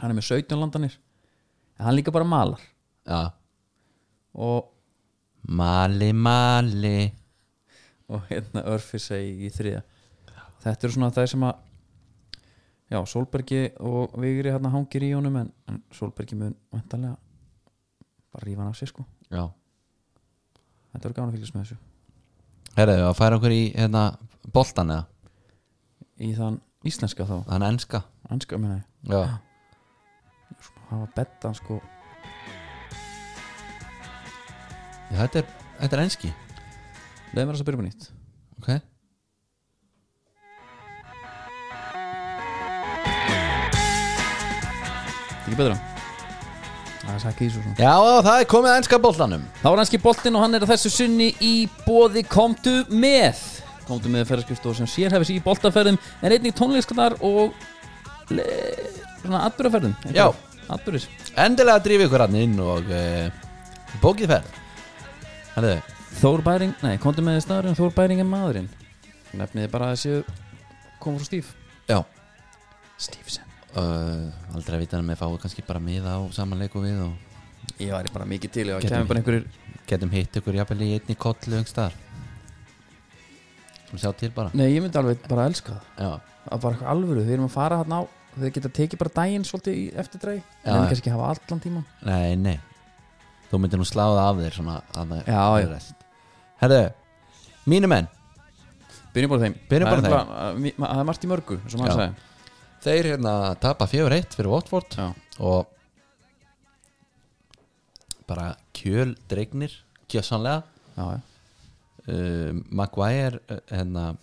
hann er með 17 landanir en hann líka bara malar
já,
og,
mali, mali
og hérna örfi segi í þriða þetta eru svona það sem að já, Solbergi og Vigri hérna hangir í honum en, en Solbergi mun vantarlega bara rífa hann af sér sko
já,
þetta eru gána að fylgjast með þessu
herðu, að færa okkur í hérna, boltan eða,
í þann íslenska þá,
þannig enska
anska meina ég
já,
hafa betta sko
já þetta, er, þetta er enski
leið mér þess að byrja upp á nýtt
ok,
Þetta er ekki betra það er sækki í sko. svo svona
já, það er komið að enska boltanum
Það var hanski boltinn og hann er að þessu sunni í bóði Komdu með Komdu með ferðarskrift og sem sérhefis í boltaferðum en einnig tónleiksknar og le, svona atbyrðaferðum
Já.
Atbyrðis
endilega drífi ykkur hann inn og uh, bókið ferð herðu,
Þór Bæring, nei, komdu með staðurinn Þór Bæring er maðurinn Nefniði bara að þessi kom frá Stíf
já
Stífsen
Uh, aldrei að vita hann með fáið kannski bara miða á samanleiku við og
Ég væri bara mikið til og
Getum
kemur bara einhverjir
getum hitt ykkur jafnvel í einni kollu yngstar sem sjá til bara
Nei, ég myndi alveg bara elska það
já,
að bara eitthvað alvöru, við erum að fara hann á þeir geta tekið bara daginn svolítið í eftirdregi
Já,
en
já.
kannski hafa allan tíman
nei, nei þú myndir nú sláða af þér svona að það
Já, já.
rest herðu, mínu menn
Byrjum bara á þeim Það er
Byrjum bara á þeim.
nefnilega- að mi- ma- Það er margt í mörgu, sem hann
Já.
sagði
þeir hérna tapa 4-1 fyrir Watford
Já.
og bara kjöl dregnir gjössanlega
Já, já.
uh, Maguire uh, hérna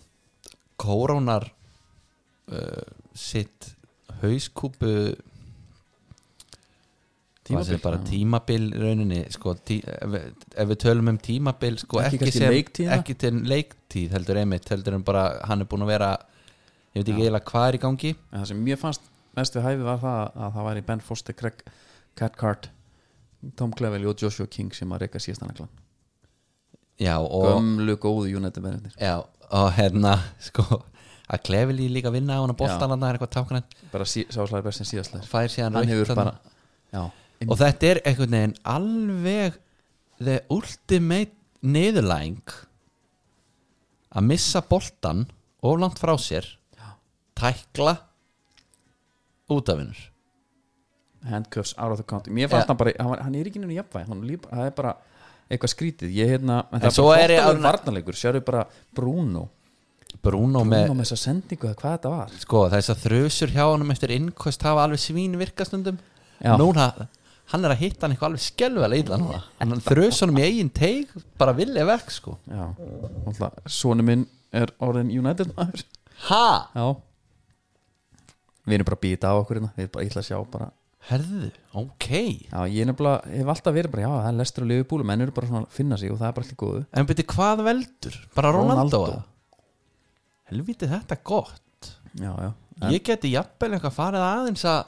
kórónar uh, sitt hauskúpu hvað
Tímabil,
sem er bara
já.
tímabil í rauninni sko, tí, ef, við- ef við tölum um tímabil sko,
Ekki
ekki,
kannski
sem,
leiktíðina?
ekki til leiktíð heldur einmitt, heldur en bara hann er búin að vera ég veit ekki eiginlega hvað er í gangi
En það sem mér fannst mest við hæfi var það að það væri Ben Foster, Craig Cathcart Tom Clevelly og Joshua King sem að reyka síðast annaklan
já, og,
Gömlu góðu United verðinir
já, og hérna (laughs) sko, að klefili líka vinna á hann að
Já.
boltalanda er eitthvað táknænt
Bara sí, sáslæði best en síðastlæði
fær síðan
Hann
rautt
hefur
þarna.
bara Já,
og þetta er einhvern veginn alveg the ultimate neyðurlæng að missa boltan of langt frá sér tækla út af hennur
handcuffs out of the country Mér fannst
Já.
hann bara, hann, var- hann er ekki nýjum jafnvæg hann er líf, Það er bara eitthvað skrítið Ég hérna, en það
svo
bara
er ég
þóttalegur
alveg-
varnarleikur Sérðu bara Bruno Bruno
Bruno, með
með þessa sendingu, eða hvað þetta var
sko, þess að þrösur hjá honum eftir innkost hafa alveg svín virkastundum
Já.
núna, hann er að hitta hann eitthvað alveg skelvelega illa núna hann þrösur honum í eigin teig bara vilja vekk sko
Já, alltaf, sonu minn er orðin United maður
ha,
Já Við erum bara að býta á okkur hérna, við erum bara illa að sjá bara
herðu, ok
Já, ég er nefnilega, hef alltaf verið bara, já, það er lestur og liðbúlu, menn eru bara svona að finna sig og það er bara allir góðu
en beti hvað veldur, bara Ronaldo, Ronaldo. helviti þetta er gott
já, já En-
ég geti jafnvel eitthvað farið aðeins að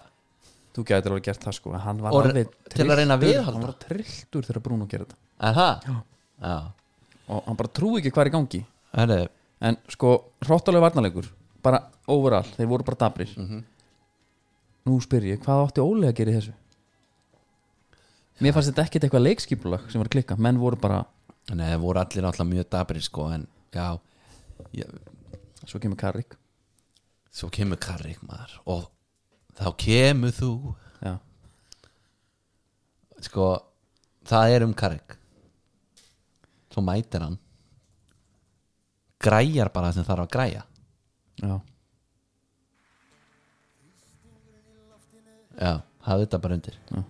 Þú gætir alveg gert það sko en Hann var
Og
alveg
til að reyna
trylltur-
að viðhalda.
Hann var trilltur þegar Bruno gerði þetta
Er það?
Já.
Já.
Og hann bara trúi ekki hvað er í gangi
Herri,
En sko, hróttalega varnarleikur Bara overall, þeir voru bara dabrir Nú spyr ég, hvað átti Óli að gera í þessu? Mér fannst þetta ekkit eitthvað leikskipulag sem var að klikka Menn voru bara,
Nei, það voru allir náttúrulega mjög dabri sko, en já, ég,
svo kemur Karrik
svo kemur Karrik maður og þá kemur þú
Já,
sko, það er um Karrik svo mætir hann græjar bara það sem þarf að græja
já,
já, hafði þetta bara undir
Já.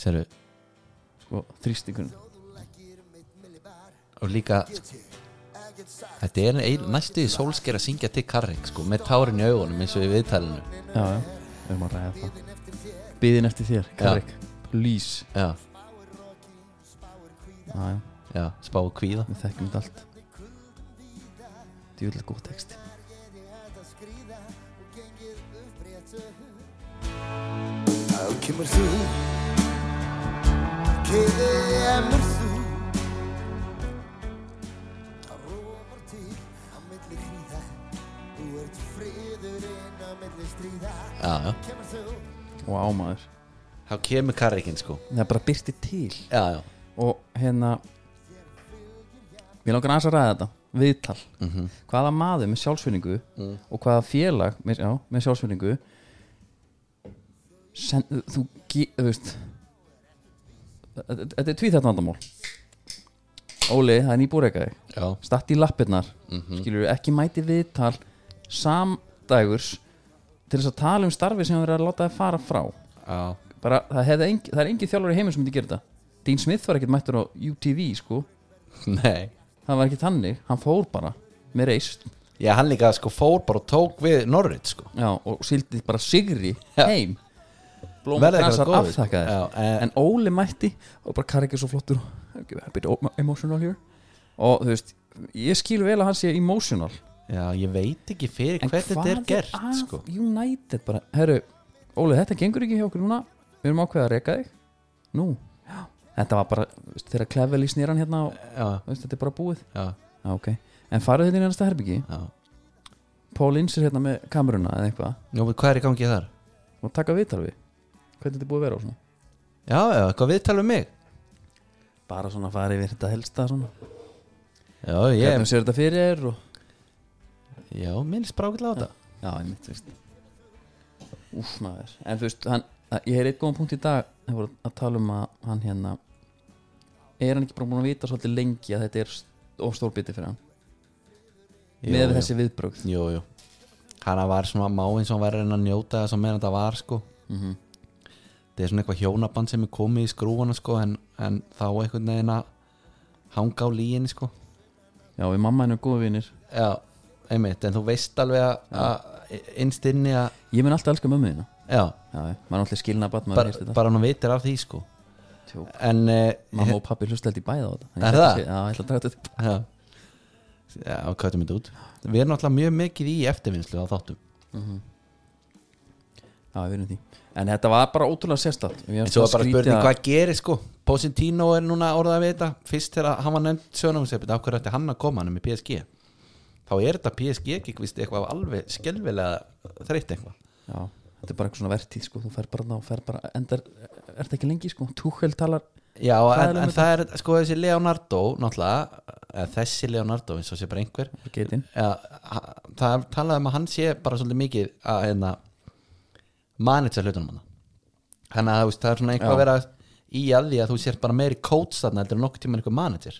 Seru,
sko, þrýstingun
og líka þetta er ein, næstu í sólsker að syngja til Karrik sko, með tárin í augunum eins og í viðtælinu
Já, já, við erum að ræða það Biðin eftir þér, Karrik Please,
já,
já, já,
já, spá og kvíða
við þekkjum þetta allt Djúlega góð texti
Þá kemur þú Kemur þú Það rofar til á milli hríða Þú ert friðurinn á milli stríða
já, já
Kemur þú
og ámaður
þá kemur karrikinn sko
það bara byrti til
já, já.
og hérna mér langar aðeins að ræða þetta viðtal, hvaða maður með sjálfsvinningu og hvaða félag með, já, með sjálfsvinningu sen, þú, þú, þú veist þetta þetta er tvíþætt vandamál Óli, það er nýbúreika þig
Já.
statt í lappirnar mm skilur ekki mæti viðtal samdægurs til þess að tala um starfi sem það er að láta það fara frá
Já.
bara, það, hefði engi, það er engin þjálfur í heiminn sem myndi gera þetta Dean Smith var ekkert mættur á UTV sko,
nei
það var ekki þannig hann fór bara með reist
já, hann líka sko fór bara og tók við Norrit sko
já, og sildi bara sigri
Já.
heim Blóm
Verði
Brassar
eitthvað góður, sko.
afþakkaði
Já, en-
en Óli mætti og bara Karri ekki svo flottur og a bit emotional here og þú veist, ég skil vel að hann sé emotional
já, ég veit ekki fyrir
en
hvernig þetta er gert
að
sko
United bara, herru, Óli þetta gengur ekki hjá okkur núna, við erum ákveðið að reka þig nú, já, þetta var bara þú veist, þegar Klefvel í snýran hérna og
já,
Þú veist, þetta er bara búið
já,
ah, okay. en farið þetta í næsta herbyggi
já
Pól Inns er hérna með kameruna eða eitthvað
Nú, hvað er í gangi þar?
og taka viðtal við hvernig þetta er búið að vera og svona
Já, já, eitthvað viðtalum mig
bara svona farið við þetta helsta svona
Já,
hvernig
ég,
sér þetta fyrir þér og
já, minnst brákilega á þetta
já, ég mitt, þú veist úf maður, en þú veist hann, að, ég hef eitt góðan punkt í dag þeir voru að tala um að hann hérna er hann ekki bara búin að vita svolítið lengi að þetta er ofstór biti fyrir hann
Jú,
með
jú.
þessi viðbrögð
Jú, jú Hanna var svona má eins og hann var að reyna að njóta þess að meðan þetta var sko
Mhm.
Það er svona eitthvað hjónaband sem er komið í skrúfana sko en, en þá einhvern veginn að hanga á líginni sko
já, við mamma henni er góð vinir
Já, einmitt, en þú veist alveg að- að innst inni að
ég mun alltaf elska mömmu þína
já,
já, já, maður er alltaf skilnað barn, maður heyrst
bara,
þetta
bara hann vitir af því sko
Tjó.
en eh,
Mamma og pappi hlusta held í bæða á þetta Ég
Er
ætla
það?
að segja- Já, ég ætla að draga þetta upp
(laughs) já, já, kvætum þetta út við erum náttúrulega mjög mikið í eftirvinnslu á þáttum
Já, við erum því En þetta var bara ótrúlega sérstætt
en svo er bara spurning hvað gerir sko Positino er núna orðað að vita fyrst þegar hann var nefnd sjónumsefnit af hverju ætti hann að koma hann er með PSG þá er þetta PSG ekki vist eitthvað alveg skelvilega þreytt eitthvað
Já, þetta er bara eitthvað svona vertíð sko Þú fer bara ná, fer bara Endar, er þetta ekki lengi sko Túhel talar
Já,
Hvað er
en,
um
en það er sko þessi Leonardo náttúrulega, eða þessi Leonardo eins og sé bara einhver
Getinn
Já, ha- það er talað um að hann sé bara svolítið mikið að hérna manitsa hlutunum hann þannig að þú veist, það er svona eitthvað að vera í að því að þú sér bara meiri coach þarna heldur en nokkuð tíma einhver manitsir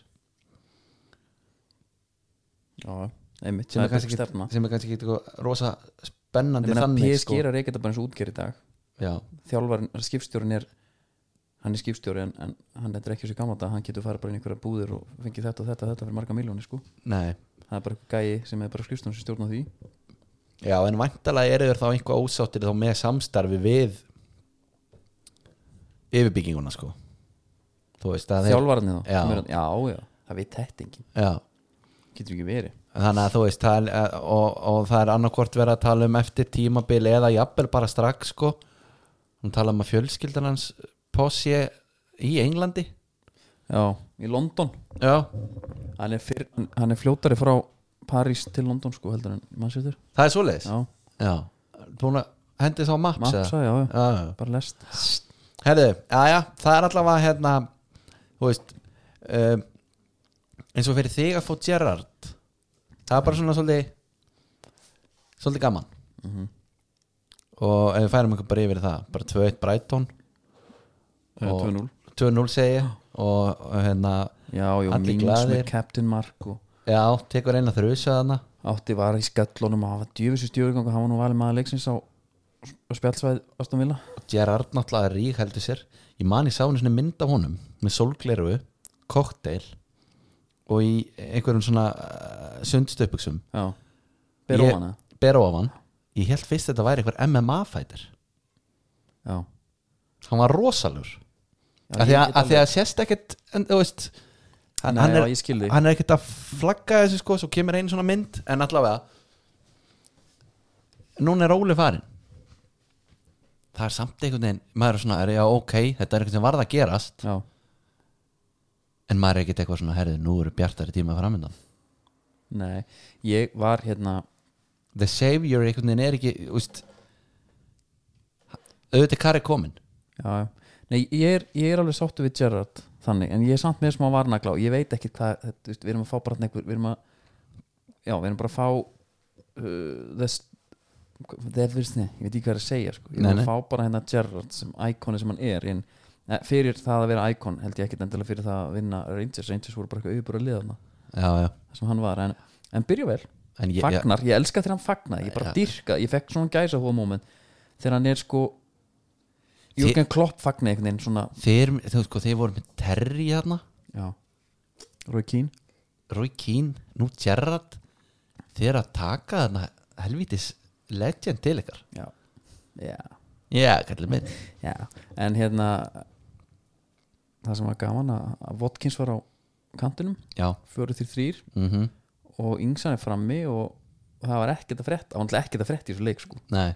Já, einmitt
sem
Það
er
er kannski
kannski
stefna
sem er kannski ekki eitthvað rosa spennandi
Þannig að
þannig sko.
PSG er að reyka þetta bara eins og útgerð í dag
Já,
Þjálfarinn, skipstjórinn er Hann er skipstjóri en, en hann er ekki svo gamla þetta Hann getur farið bara inn í einhverja búðir og fengið þetta og þetta og þetta fyrir marga miljónir sko
nei
Það er bara eitthvað gæi sem er bara skipstjórn sem stjórna því
Já, en væntalega eru þér þá einhvað ósáttir þá með samstarfi við yfirbygginguna sko Þú veist að þeir-
Þjálfarinn þá
Já.
sem er- já, já, það veit þetta enginn
Já,
getur ekki verið
þannig að þú veist það er, eh, og, og það er annarkvort verið að tala um eftir tímabil eða jafnvel bara strax sko hún tala um að fjölskyldan hans posi í Englandi
já, í London
já,
hann er, fyrr, hann er fljótari frá París til London sko heldur en mannsettur
það er svoleiðis
já,
já, búin að hendi þá maps,
Mapsa, já, já,
Já, já, já.
bara lest
Herðu, já, já, það er allavega hérna, þú veist um, eins og fyrir þig að fá Gerard það er bara svona svolítið svolítið gaman og ef við færum einhver bara yfir í það bara 2-1 Brighton
Eh,
Og-
2-0
2-0 segi ég og, og hérna,
já, já,
Allir
Mings með
glaðir.
Captain Mark og
já, tekur eina þrjusaðana
átti var í skallunum og hafa djöfisir stjórgang og hafa nú valið maður leiksins á á spjallsvæð Aston Villa
Gerard náttúrulega rík heldur sér ég man ég sá henni svona mynd af honum með sólgleru, kokteil og í einhverjum svona uh, sundstöpuksum
já, bera
Ég-
ofan eða?
bera ofan ég held fyrst þetta væri einhver MMA fætir
já,
hann var rosalur
já
af því
ég
að,
get
að, því
alveg-
að sést ekkert en, þú veist, hann,
Nei,
hann,
já, ég skil
er,
þig.
hann er ekkert að flagga þessu sko, svo kemur einu svona mynd en allavega núna er Óli farin það er samt einhvern veginn maður er svona, er, já ok, þetta er eitthvað sem varð að gerast
já,
en maður er ekkert eitthvað svona, herrið, nú eru bjartari tíma framöndan
nei, ég var hérna
The Savior einhvern veginn er ekki þú veist, auðvitað Kari komin
já, já. Nei, ég, er, ég er alveg sáttu við Gerrard þannig, en ég er samt með smá varnagla og ég veit ekki hvað, þetta, þú veist, við erum að fá bara þarna einhver, við erum að já, við erum bara að fá uh, þess það virðist niður, ég veit ekki hvað er að segja sko. ég
Nei,
er
nei.
að fá bara hérna Gerrard sem íkoni sem hann er en eh, fyrir það að vera íkon held ég ekkit endilega fyrir það að vinna Rangers Rangers voru bara eitthvað auðbúra liðana
já, já.
það sem hann var, en, en byrja vel
En ég, ég,
fagnar, ég elska þegar hann fagnar ég bara
Já.
dyrka, ég fekk svona gæsa hóða moment þegar hann er sko Jürgen Klopp fagnar einhvern veginn svona
þeir, þeir, sko, þeir voru með Terry þarna
Já Roy Keane
Roy Keane, nú Gerrard þeir eru að taka þarna helvítis legend til ykkar
Já, já,
já, kallið minn
já. En hérna Það sem var gaman að, að Watkins var á kantinum
já,
Fjóru til þrýr
mhm,
Og Ingsan er frammi og það var ekkert að frétta Það var náttúrulega ekkert að frétta í þessu leik sko
nei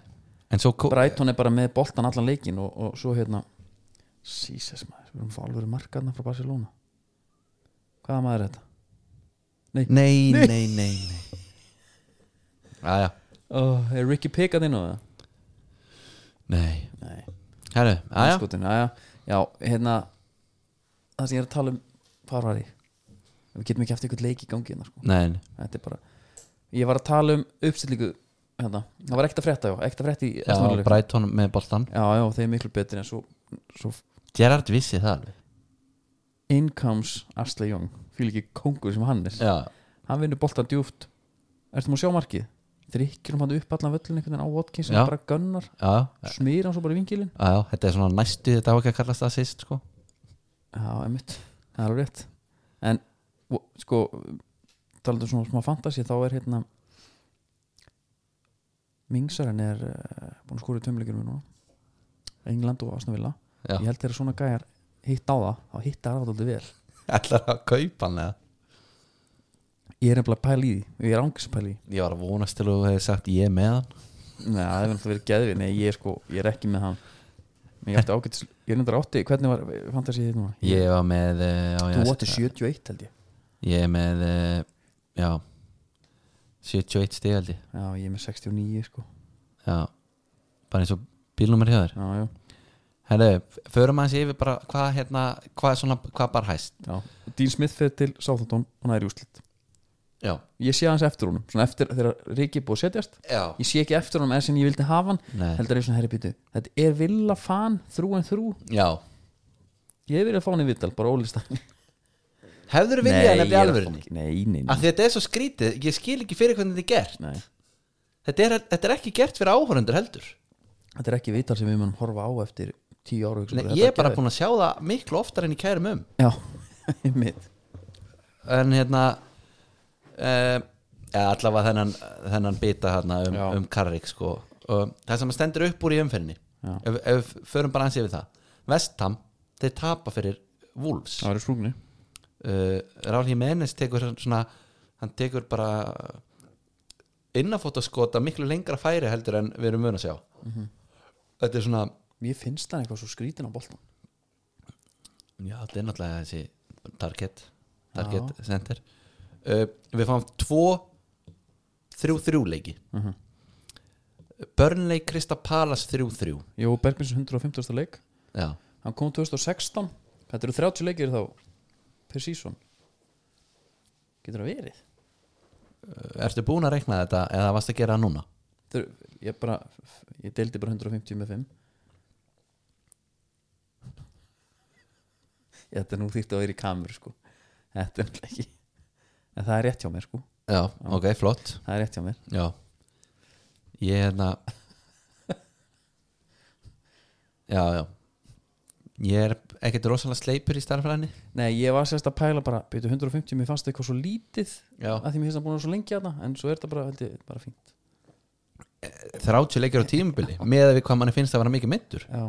en svo ko-
Brighton er bara með boltan allan leikin og, og svo hérna Jesus maður, við erum að fá alveg markaðna frá Barcelona Hvaða maður er þetta?
nei, nei, nei, nei, nei. já, já,
Oh, er Ricky Pick að þínu það?
nei Sko-
Nei
herru, já, já,
Andskotinu, já, já. já, hérna það sem ég er að tala um hvar var ég við getum ekki haft einhvern leik í gangi hérna, sko.
nei nei.
þetta er bara ég var að tala um uppstillingu hérna. það var ekkert að frétta, já, ekkert að frétta í
já,
Aston Villa-leik.
Brighton með boltan
já, já, þeir eru miklu betri en svo, svo
Gerrard vissi það alveg
incomes Astley Young, fylg ekki kongur sem hann er
já,
hann vinnur boltan djúft ertu maður að sjá markið þryggjur hann upp allan völlin einhvern veginn á Watkins sem
Já.
bara gunnar,
já, já,
smýr hann svo bara í vingilin
já, þetta er svona næstu þetta á ekki að kallast það sýst sko
Já, einmitt, það er alveg rétt En, og, sko talaðu svona smá fantasi, þá er hérna Mingsarinn er uh, búin að skora í tömleikur við núna England og Asnavilla
Já.
Ég held þeirra svona gæjar hitt á það þá hitta það alveg vel
ætlar að kaupa hann eða
Ég er nefnilega að pæla í því, ég er ángis að pæla í því
ég var að vonast til að þú hefði sagt ég með hann
Nei, það hefur náttúrulega verið geðvið Nei, ég er sko, ég er ekki með hann Men Ég átti ágætis, ég er nefnilega átti Hvernig var fantasið þitt núna?
ég var með eh, já, já,
Þú átti 71 held ég
Ég er með eh, Já 71 stig held ég
Já, ég er með 69 sko
Já Bara eins og bílnúmer hjá þér
Já, já,
Herðu, förum aðeins yfir bara hvað hérna Hvað er svona, hvað bara hæst
já Dean Smith fyrir til Southampton og næri úslit
Já
ég sé hans eftir honum svona eftir þegar Riki er búið að setjast
Já
ég sé ekki eftir honum eða sem ég vildi hafa hann
Nei.
heldur ég svona herri býtu þetta er villa fan þrú en þrú
Já
ég hef verið að fá hann í vittal bara ólista
Hefður þú viljað nefnir alvörinni
nei, nei, nei,
Af því þetta er svo skrítið Ég skil ekki fyrir hvernig þetta er gert
nei
Þetta er, þetta er ekki gert fyrir áhorundur heldur
þetta er ekki vittal sem við munum horfa á eftir tíu ára
Nei, Ég er bara búin að sjá það miklu oftar en ég kærum um
já, (laughs) einmitt
en hérna uh, ja, allavega þennan, þennan bita hérna um,
Já.
um Karrik sko. um, það sem stendur upp úr í umferðinni
Já.
ef, ef við förum bara aðeins yfir það Vestham, þeir tapa fyrir Wolves Eh,
það verður slúgnir
uh, Rálhi Menes tekur svona hann hann tekur bara innafótaskota miklu lengra færi heldur en við erum vun að sjá
Mhm.
þetta er svona
Mér finnst hann eitthvað svo skrítin á boltan
já, þetta er náttúrulega þessi target, target center uh, við fáum tvo þrjú þrjú leiki mm -hmm. Burnley Krista Palace Uh, þrjú þrjú
Jó, Bergmins 150. leik
já,
Hann kom 2016 Þetta eru 30 leikir þá Per season Getur það verið?
ertu búin að reikna þetta eða varst að gera það núna
Þetta eru, ég bara Ég deildi bara 150 með 5 (laughs) Ég, Þetta er nú þýrt að vera í kamur sko Þetta er náttúrulega ekki En það er rétt hjá mér sko
já, ok, flott
Það er rétt hjá mér
já ég hérna já, já ég er ekkert rosalega sleipur í starfræðinni
Nei, ég var sérst að pæla bara Byrju 150, mér fannst eitthvað svo lítið
Já.
að því mér finnst það búin að vera svo lengi að það En svo er þetta bara, held ég, bara fínt
30 leikir á tímubili með að við hvað manni finnst að vera mikið myndur
Já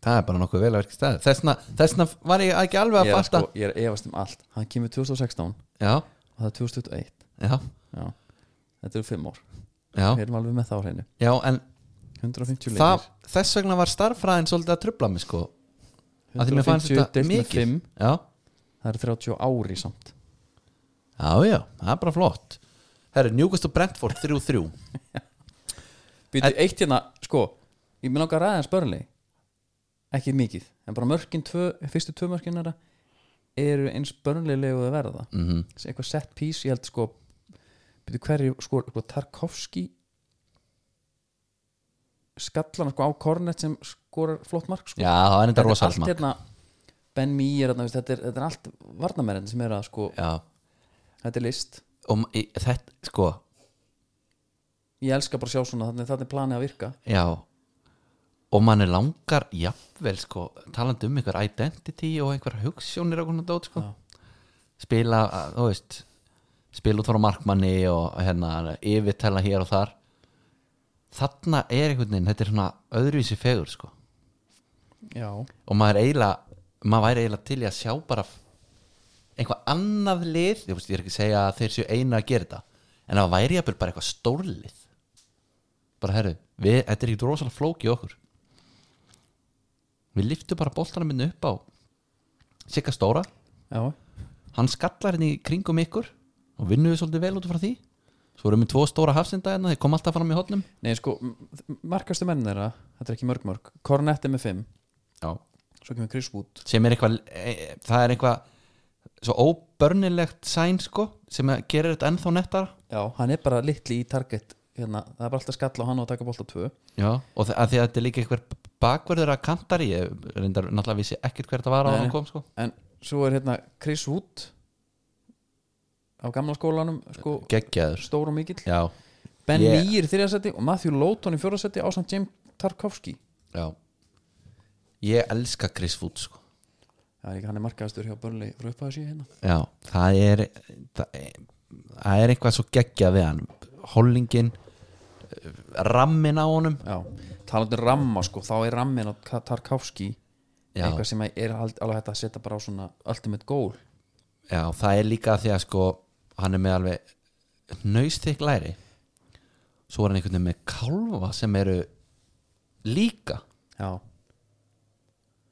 það er bara nokkuð vel að verka stæð þessna, þessna var ég ekki alveg að
ég er,
fatta
sko, ég er að efast um allt hann kemur 2016
já,
og það er 2021
já,
já. þetta eru fimm ár við
já,
erum alveg með þá hreinu
já en
150
það,
leikir
þess vegna var starfræðin svolítið að trubla mig sko af því mér
150
fannst þetta
deilt með
mikið
fimm,
já,
það eru 30 ári samt
já, já, það er bara flott herri, Newcastle og Brentford 3-3
Býtu, eitt hérna, sko ég minn okkar aðeins börnleg ekki mikið, en bara mörkin tvö, fyrstu tvö mörkin þeirra eru eins börnleglegu að verða
mm
eitthvað set piece, ég held sko býtu, hverju, sko, sko Tarkovski skallana sko á Kornet sem skorar flott mark sko
já, það er enda
þetta er
rosalega
allt
mark.
hérna Ben Meir, þarna, veist, þetta, er, þetta er allt varnamennin sem er að sko,
já,
þetta er list
og ma- í- þetta, sko
ég elska bara að sjá svona, þannig þetta er planið að virka
já og mann er langar, jafnvel sko talandi um einhver identity og einhver hugssjónir og konar dót, sko
Já.
spila, að, þú veist spila út frá markmanni og hérna yfirtella hér og þar þarna er einhvern veginn þetta er svona öðruvísi fegur, sko
já,
og maður er eiginlega, maður væri eiginlega til í að sjá bara f- eitthvað annað lið, ég, veist, ég er ekki að segja að þeir séu eina að gera þetta en það væri jafnvel bara eitthvað stórlið bara herru, við, þetta er ekki rosalega flók í okkur við liftum bara boltana minni upp á Sikka Stóra
já,
hann skallar henni í kringum ykkur og vinnum við svolítið vel út frá því svo erum við tvo stóra hafsinda hérna, þeir kom alltaf fram í hotnum
nei sko m- markastu menn þeirra, þetta er ekki mörg mörg Kornet er með 5,
Já.
svo kemur Chris Wood
sem er eitthvað e, e, það er eitthvað svo óbörnilegt sæn sko sem að gerir þetta ennþá nettara
já, hann er bara litli í target hérna, það er bara alltaf skalla á hann og að taka bolta tvö
Já. og þa- af því að þetta er líka eitthvað bakverður að kantar í ég reyndar náttúrulega vissi ekkert hver þetta var á
Nei,
hann
nei.
kom sko
en svo er hérna Chris Wood á gamla skólanum sko,
geggjaður
stór og mikill
Já.
Ben
Ég-
yeah. Meir í þriðasetti og Matthew Lowton í fjórasetti á samt James Tarkovski
Já. ég elska Chris Wood sko
Það er ekki hann er markaðastur hjá Burnley frá upphæðu síðan hérna
Já, það er það er, það er eitthvað svo geggjað við hann hollingin rammin á honum
Já, talandi um ramma sko, þá er rammin á Ka- Tarkovski
Já.
eitthvað sem er al- alveg hægt að setja bara á svona ultimate goal
Já, það er líka því að sko hann er með alveg nöystikk læri svo er hann einhvern veginn með kálfa sem eru líka
Já,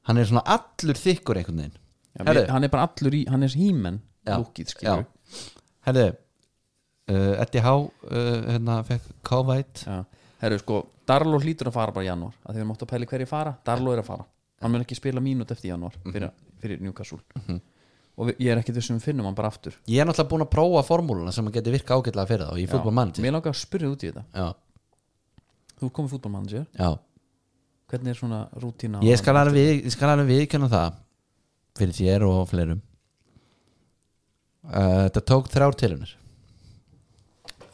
hann er svona allur þykkur einhvern veginn
Já
Herðu.
mér, hann er bara allur í, hann er hímen
Já.
lúkið skilur
Já. Herðu, uh, Eddie Há uh, hérna fekk kávætt
Já. Herru sko, Darlo hlýtur að fara bara í janúar að því við máttu að pæli hverju fara, Darlo er að fara hann mun ekki spila mínút eftir janúar
Mhm.
fyrir, fyrir Newcastle og við, ég er ekkit þessum við finnum hann bara aftur
Ég er náttúrulega búin að prófa formúluna sem að geti virka ágætlega fyrir þá í fútbolmanager
Mér langar að spyrja þig út í þetta
Já,
Þú komið fútbolmanager,
já
hvernig er svona rútína á
Ég
það?
skal alveg, við, ég skal alveg viðkjöna það fyrir þér og fleirum uh, Þetta tók þrjár tilunir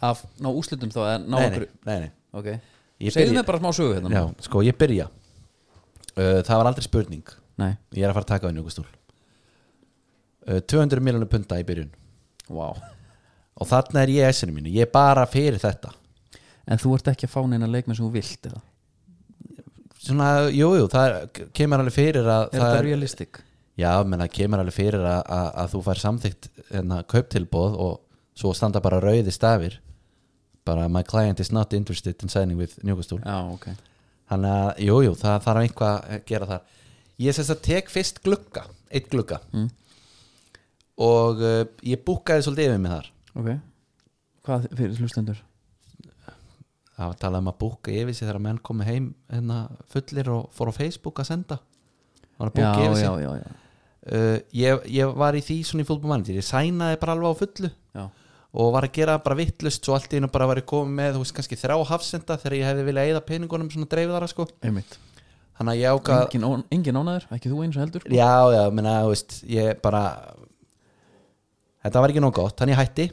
að ná úslitum þá eða ná
nei,
okkur
nei, nei
ok,
Ég
segðu
byrja-
mér bara smá sögu hérna
Já, sko ég byrja uh, Það var aldrei spurning
nei,
Ég er að fara að taka við njúkustúl uh, 200 miljonar punta í byrjun
wow.
Og þarna er ég essinu mínu Ég er bara fyrir þetta
en þú ert ekki að fá neina leikmenn sem þú vilt eða?
Svona, jú, jú, það er, kemur alveg fyrir að
er þetta realistic?
Já, menn það kemur alveg fyrir að, að, að þú fær samþygt hérna, kauptilbóð og svo standa bara rauði stafir bara my client is not interested in signing with Newcastle
já, ok
þannig að, jú, jú, það þarf einhvað að gera þar ég sérst að tek fyrst glugga eitt glugga
Mm.
og uh, ég búkaði svolítið yfir mig þar
Ok, hvað fyrir hlustendur?
það var talað um að búka yfir sig þegar menn komi heim hérna, fullir og fór á Facebook að senda var að búka yfir sig
já, já
Uh, ég, ég var í því svona í fútbolmanager ég sænaði bara alveg á fullu
Já,
og var að gera bara vittlust svo allt í einu bara var ég komið með, þú veist, kannski þrá hafsenda þegar ég hefði viljað eyða peningunum svona dreifðara sko,
einmitt
þannig að ég ákvað
engin, ón- engin ánæður, ekki þú eins og heldur
Já, já, menna, þú veist, ég bara Þetta var ekki nóg gott, þannig ég hætti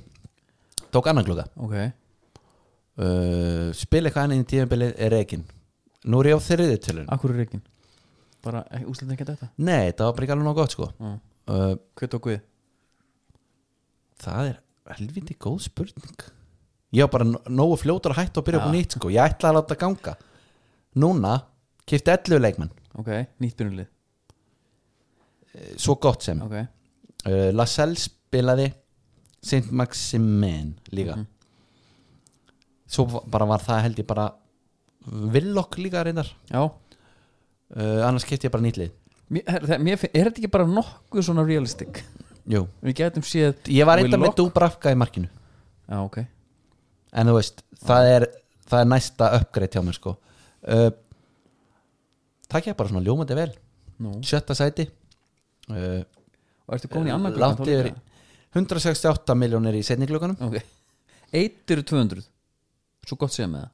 Tók annan klukka
Ok,
uh, Spil eitthvað annað inn í tíðanbilið er reikin Nú er ég á þriðið tölun
akkur er ekki Bara úslega ekki þetta
Nei, þetta var bara ekki alveg nóg gott, sko
Mm.
uh,
Hvað tók við?
Það er helviti góð spurning Ég var bara nó- nógu fljótur að hætta og byrja upp
Já.
á nýtt, sko Ég ætlaði að láta ganga Núna, kipti 11 leikmann
Ok, nýtt byrjunlið
Eh, Svo gott sem
Ok,
uh, Lasell spilaði Saint Maximin líka
Mhm.
svo va- bara var það held ég bara Villok líka reyndar
já
uh, annars kefti ég bara nýtlið
Mér, er, það- mér, finn- er þetta ekki bara nokkuð svona realistic?
Jú.
Við getum séð
ég var reyndar
Willock.
með Dubravka í markinu
Já, ok
en þú veist, það er, það er næsta uppgreitt hjá mér sko uh, það gekk bara svona ljómandi vel
Nú.
sjötta sæti uh,
Og ertu Mhm. komin í annan gluggann
Eh, langt
þá líka?
yfir 168 miljónir í setni klukkanum
Ok, eitt eru 200 Svo gott séð með það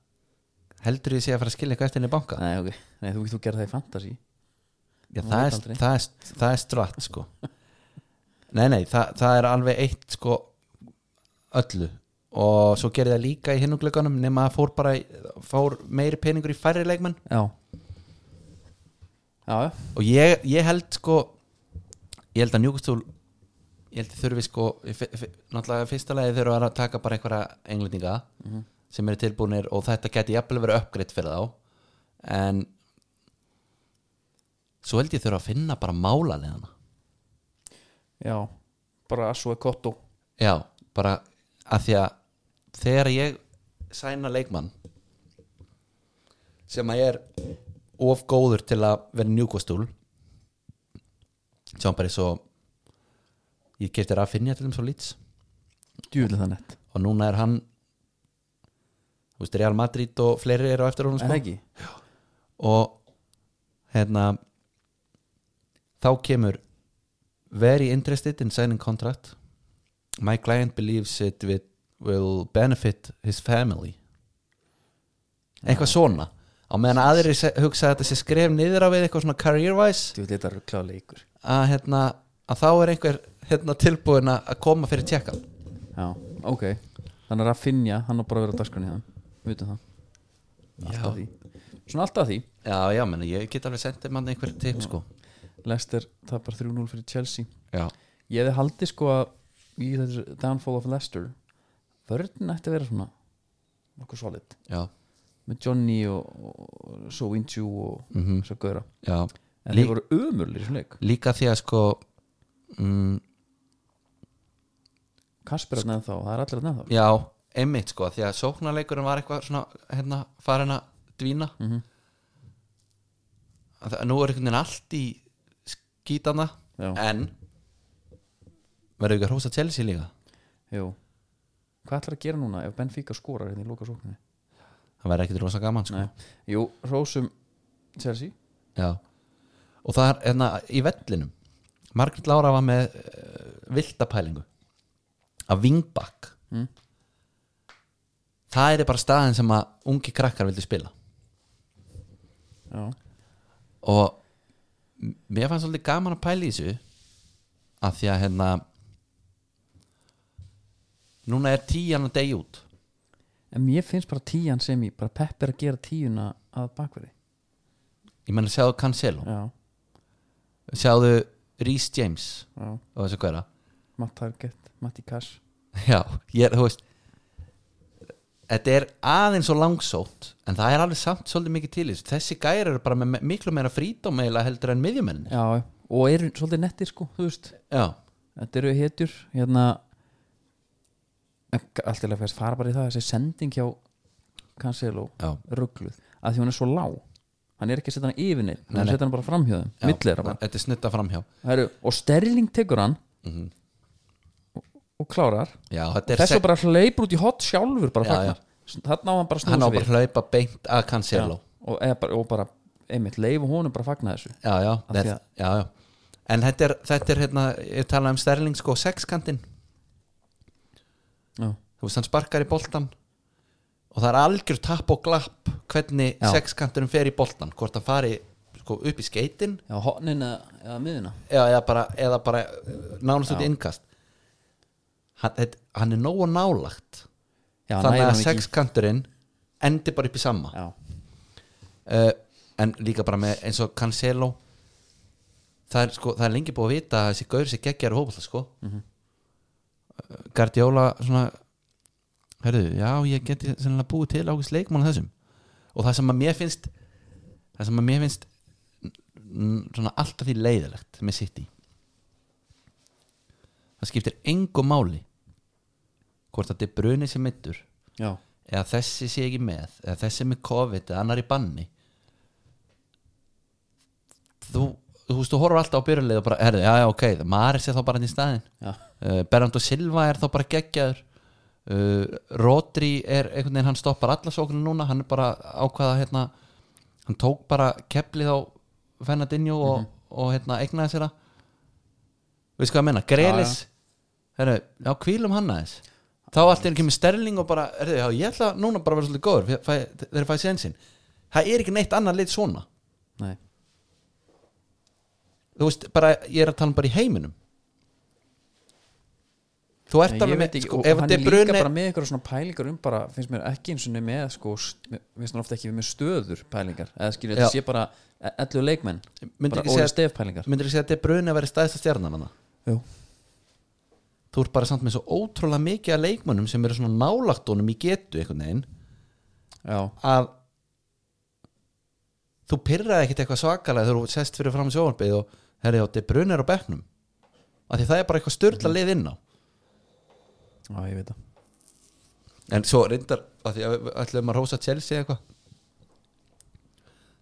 heldur ég sé að fara að skilja eitthvað eftir henni í banka
Nei, ok, Nei, þú getur gerð það í fantasy
Já,
Maður
það
veit
er,
aldrei.
það, er, það er stratt sko Nei, nei, það, það er alveg eitt sko öllu og svo gerði það líka í hinnum glöggunum nema að fór bara í- fór meiri peningur í færri leikmenn
Já Já, já,
og ég, ég held sko ég held að njúkustúl ég held að þurfi sko í fi- fi- náttúrulega í fyrsta lagi þurfa að taka bara einhverja englendinga
Mhm.
sem eru tilbúinir og þetta geti jafnvel verið uppgreitt fyrir þá en svo held ég þurfa að finna bara mála leðana
Já, bara svo er kottu
Já, bara að því að þegar ég sæna leikmann sem að ég er of góður til að vera njúkostúl sem bara er svo ég kefti Rafinha til þeim svo lít
Djúvilega það nett
og núna er hann þú veist, Real Madrid og fleiri eru á eftir honum
Er það
sko.
ekki?
og hérna þá kemur very interested in signing contract my client believes it with, will benefit his family eitthvað svona á meðan aðrir se- hugsa að þetta sé skref niður á við eitthvað svona career wise
Djúvilega þetta er klálega leikur
að, hérna, að þá er einhver hérna, tilbúin að að koma fyrir tjekkan
Já, ok Þannig að Raffinja, hann á bara að vera á dagskrunni hann Við veitum það Alltaf því Svona alltaf því
já, já, meni, ég get alveg sendið mann einhver tip sko.
Leicester tapar 3-0 fyrir Chelsea
já.
Ég hefði haldið sko að í þetta downfall of Leicester Vörðin ætti að vera svona nokkuð solid
já,
með Johnny og, og So Inju og
Mhm.
svo Gauðra
já
en
Lí-
þeir voru ömurlir í svona leik
líka því að sko mm,
Kasper er neðan þá, það er allir neðan þá
Já, einmitt sko því að sóknarleikurinn var eitthvað svona hérna, farin að dvína mm
Mhm.
-hmm. að nú er einhvern veginn allt í skítana
Já.
en verður ekki að hrósa Chelsea líka
Jú Hvað ætlar að gera núna ef Benfica skorar hérna í loka sókninni?
það verður ekkert rosa gaman sko
Nei, jú, Rósum Chelsea
Já. og það er hérna, í vellinum Margrét Lára var með uh, viltapælingu að vingbakk
Mm.
það er bara staðin sem að ungi krakkar vildu spila
Já,
og m- mér fannst svolítið gaman að pæla í þessu að því að hérna núna er tíjan að degi út
en mér finnst bara tíjan sem ég bara Pep er að gera tíjuna að bakverði
ég menna sjáðu Cancelo,
Já,
sjáðu Rhys James
já,
og þessu hverja (laughs)
Matt Target, Matti Cash
já, ég er, þú veist þetta er aðeins og langsótt en það er alveg samt svolítið mikið til í þessu þessi gæri eru bara með me- miklu meira frítóm eiginlega heldur en miðjumenninni
Já, og eru svolítið nettir sko, þú veist
já,
Þetta eru hetjur, hérna En g- allt í lagi fyrst fara bara í það þessi sending hjá Cancelo
já,
ruggluð að því hún er svo lág hann er ekki að setja hann yfir neitt
Nei,
hann
nei.
setja hann bara framhjóðum,
já
millir þeirra bara
þetta er snutta framhjá
Heru, og Sterling tekur hann
Mhm.
og klárar
já, þetta er
þessu
sek-
bara hleypur út í hot sjálfur bara
Já,
fagnar þarna á hann bara að
hann á
snúa sér
bara
við
að hlaupa beint að Cancelo
Já, og, eða bara, og bara einmitt leifu honum bara að fagna þessu
já, já,
því
þetta,
að-
já, já en þetta er, þetta er hérna, ég tala um Sterling sko, sexkantinn
já,
þú veist hann sparkar í boltan og það er algjör tapp og glapp hvernig
Já.
sexkanturinn fer í boltan hvort það fari sko, upp í skeitin
já hotnin eða, eða miðina
eða, eða bara, eða bara eh, nánast út í innkast hann, þetta- hann er nógu nálagt
já,
þannig
nær
að
hann ekki-
sexkanturinn endi bara upp í sama
já,
uh, en líka bara með eins og Cancelo það er, sko, það er lengi búið að vita að þessi gaur sem geggjar hófald sko. mm -hmm. Guardiola svona herðu, já ég geti sennilega búið til ákveðs leikmann af þessum og það sem að mér finnst það sem að mér finnst n- svona alltaf því leiðilegt með City það skiptir engu máli hvort að þetta er brunið sem mittur
já,
eða þessi sé ekki með eða þessi er með COVID eða annar í banni þú, þú veist, þú horfur alltaf á byrjuleið og bara, herði, já, já, ok, Maris er þá bara hann í staðin
já,
uh, Bernd og Silva er þá bara geggjaður uh, Rodri er einhvern veginn hann stoppar alla sóknir núna, hann er bara ákvaða hérna, hann tók bara keplið á Fernandinho og, og hérna, eignaði sér það veist hvað ég menna, Grelis herru, já, kvílum hann aðeins þá allt er ekki með sterling og bara herru, já, ég ætla núna bara að vera svolítið góður fæ- fæ- þegar ég fæði sénsinn, það er ekki neitt annað leitt svona,
nei
þú veist, bara ég er að tala um bara í heiminum þú ert
Nei, ég veit
alveg með,
ekki,
sko,
og
ef
hann
þetta
er
er
líka
brunni
bara með ykkur svona pælingar um bara finnst mér ekki eins og niður með sko, st- mér finnst hann ofta ekki með stöður pælingar eða skilur þetta
Já.
sé bara e- ellu leikmenn
myndir
bara
ekki,
óli
segja,
stef pælingar
myndir ekki segja að De Bruyne að vera stæðsta stjarnan hana
Jú.
þú ert bara samt með svo ótrúlega mikið að leikmönnum sem eru svona nálagt honum í getu einhvern veginn
já,
að þú pyrraði ekkit eitthvað svakalega þegar þú sest fyrir fram sjónarbið og herri á De Bruyne er á bekknum af því það er bara eitthvað
Mhm.
styrla lið inn á
já, ég veit það
en svo reyndar af því að við ætlum að rósa Chelsea eitthvað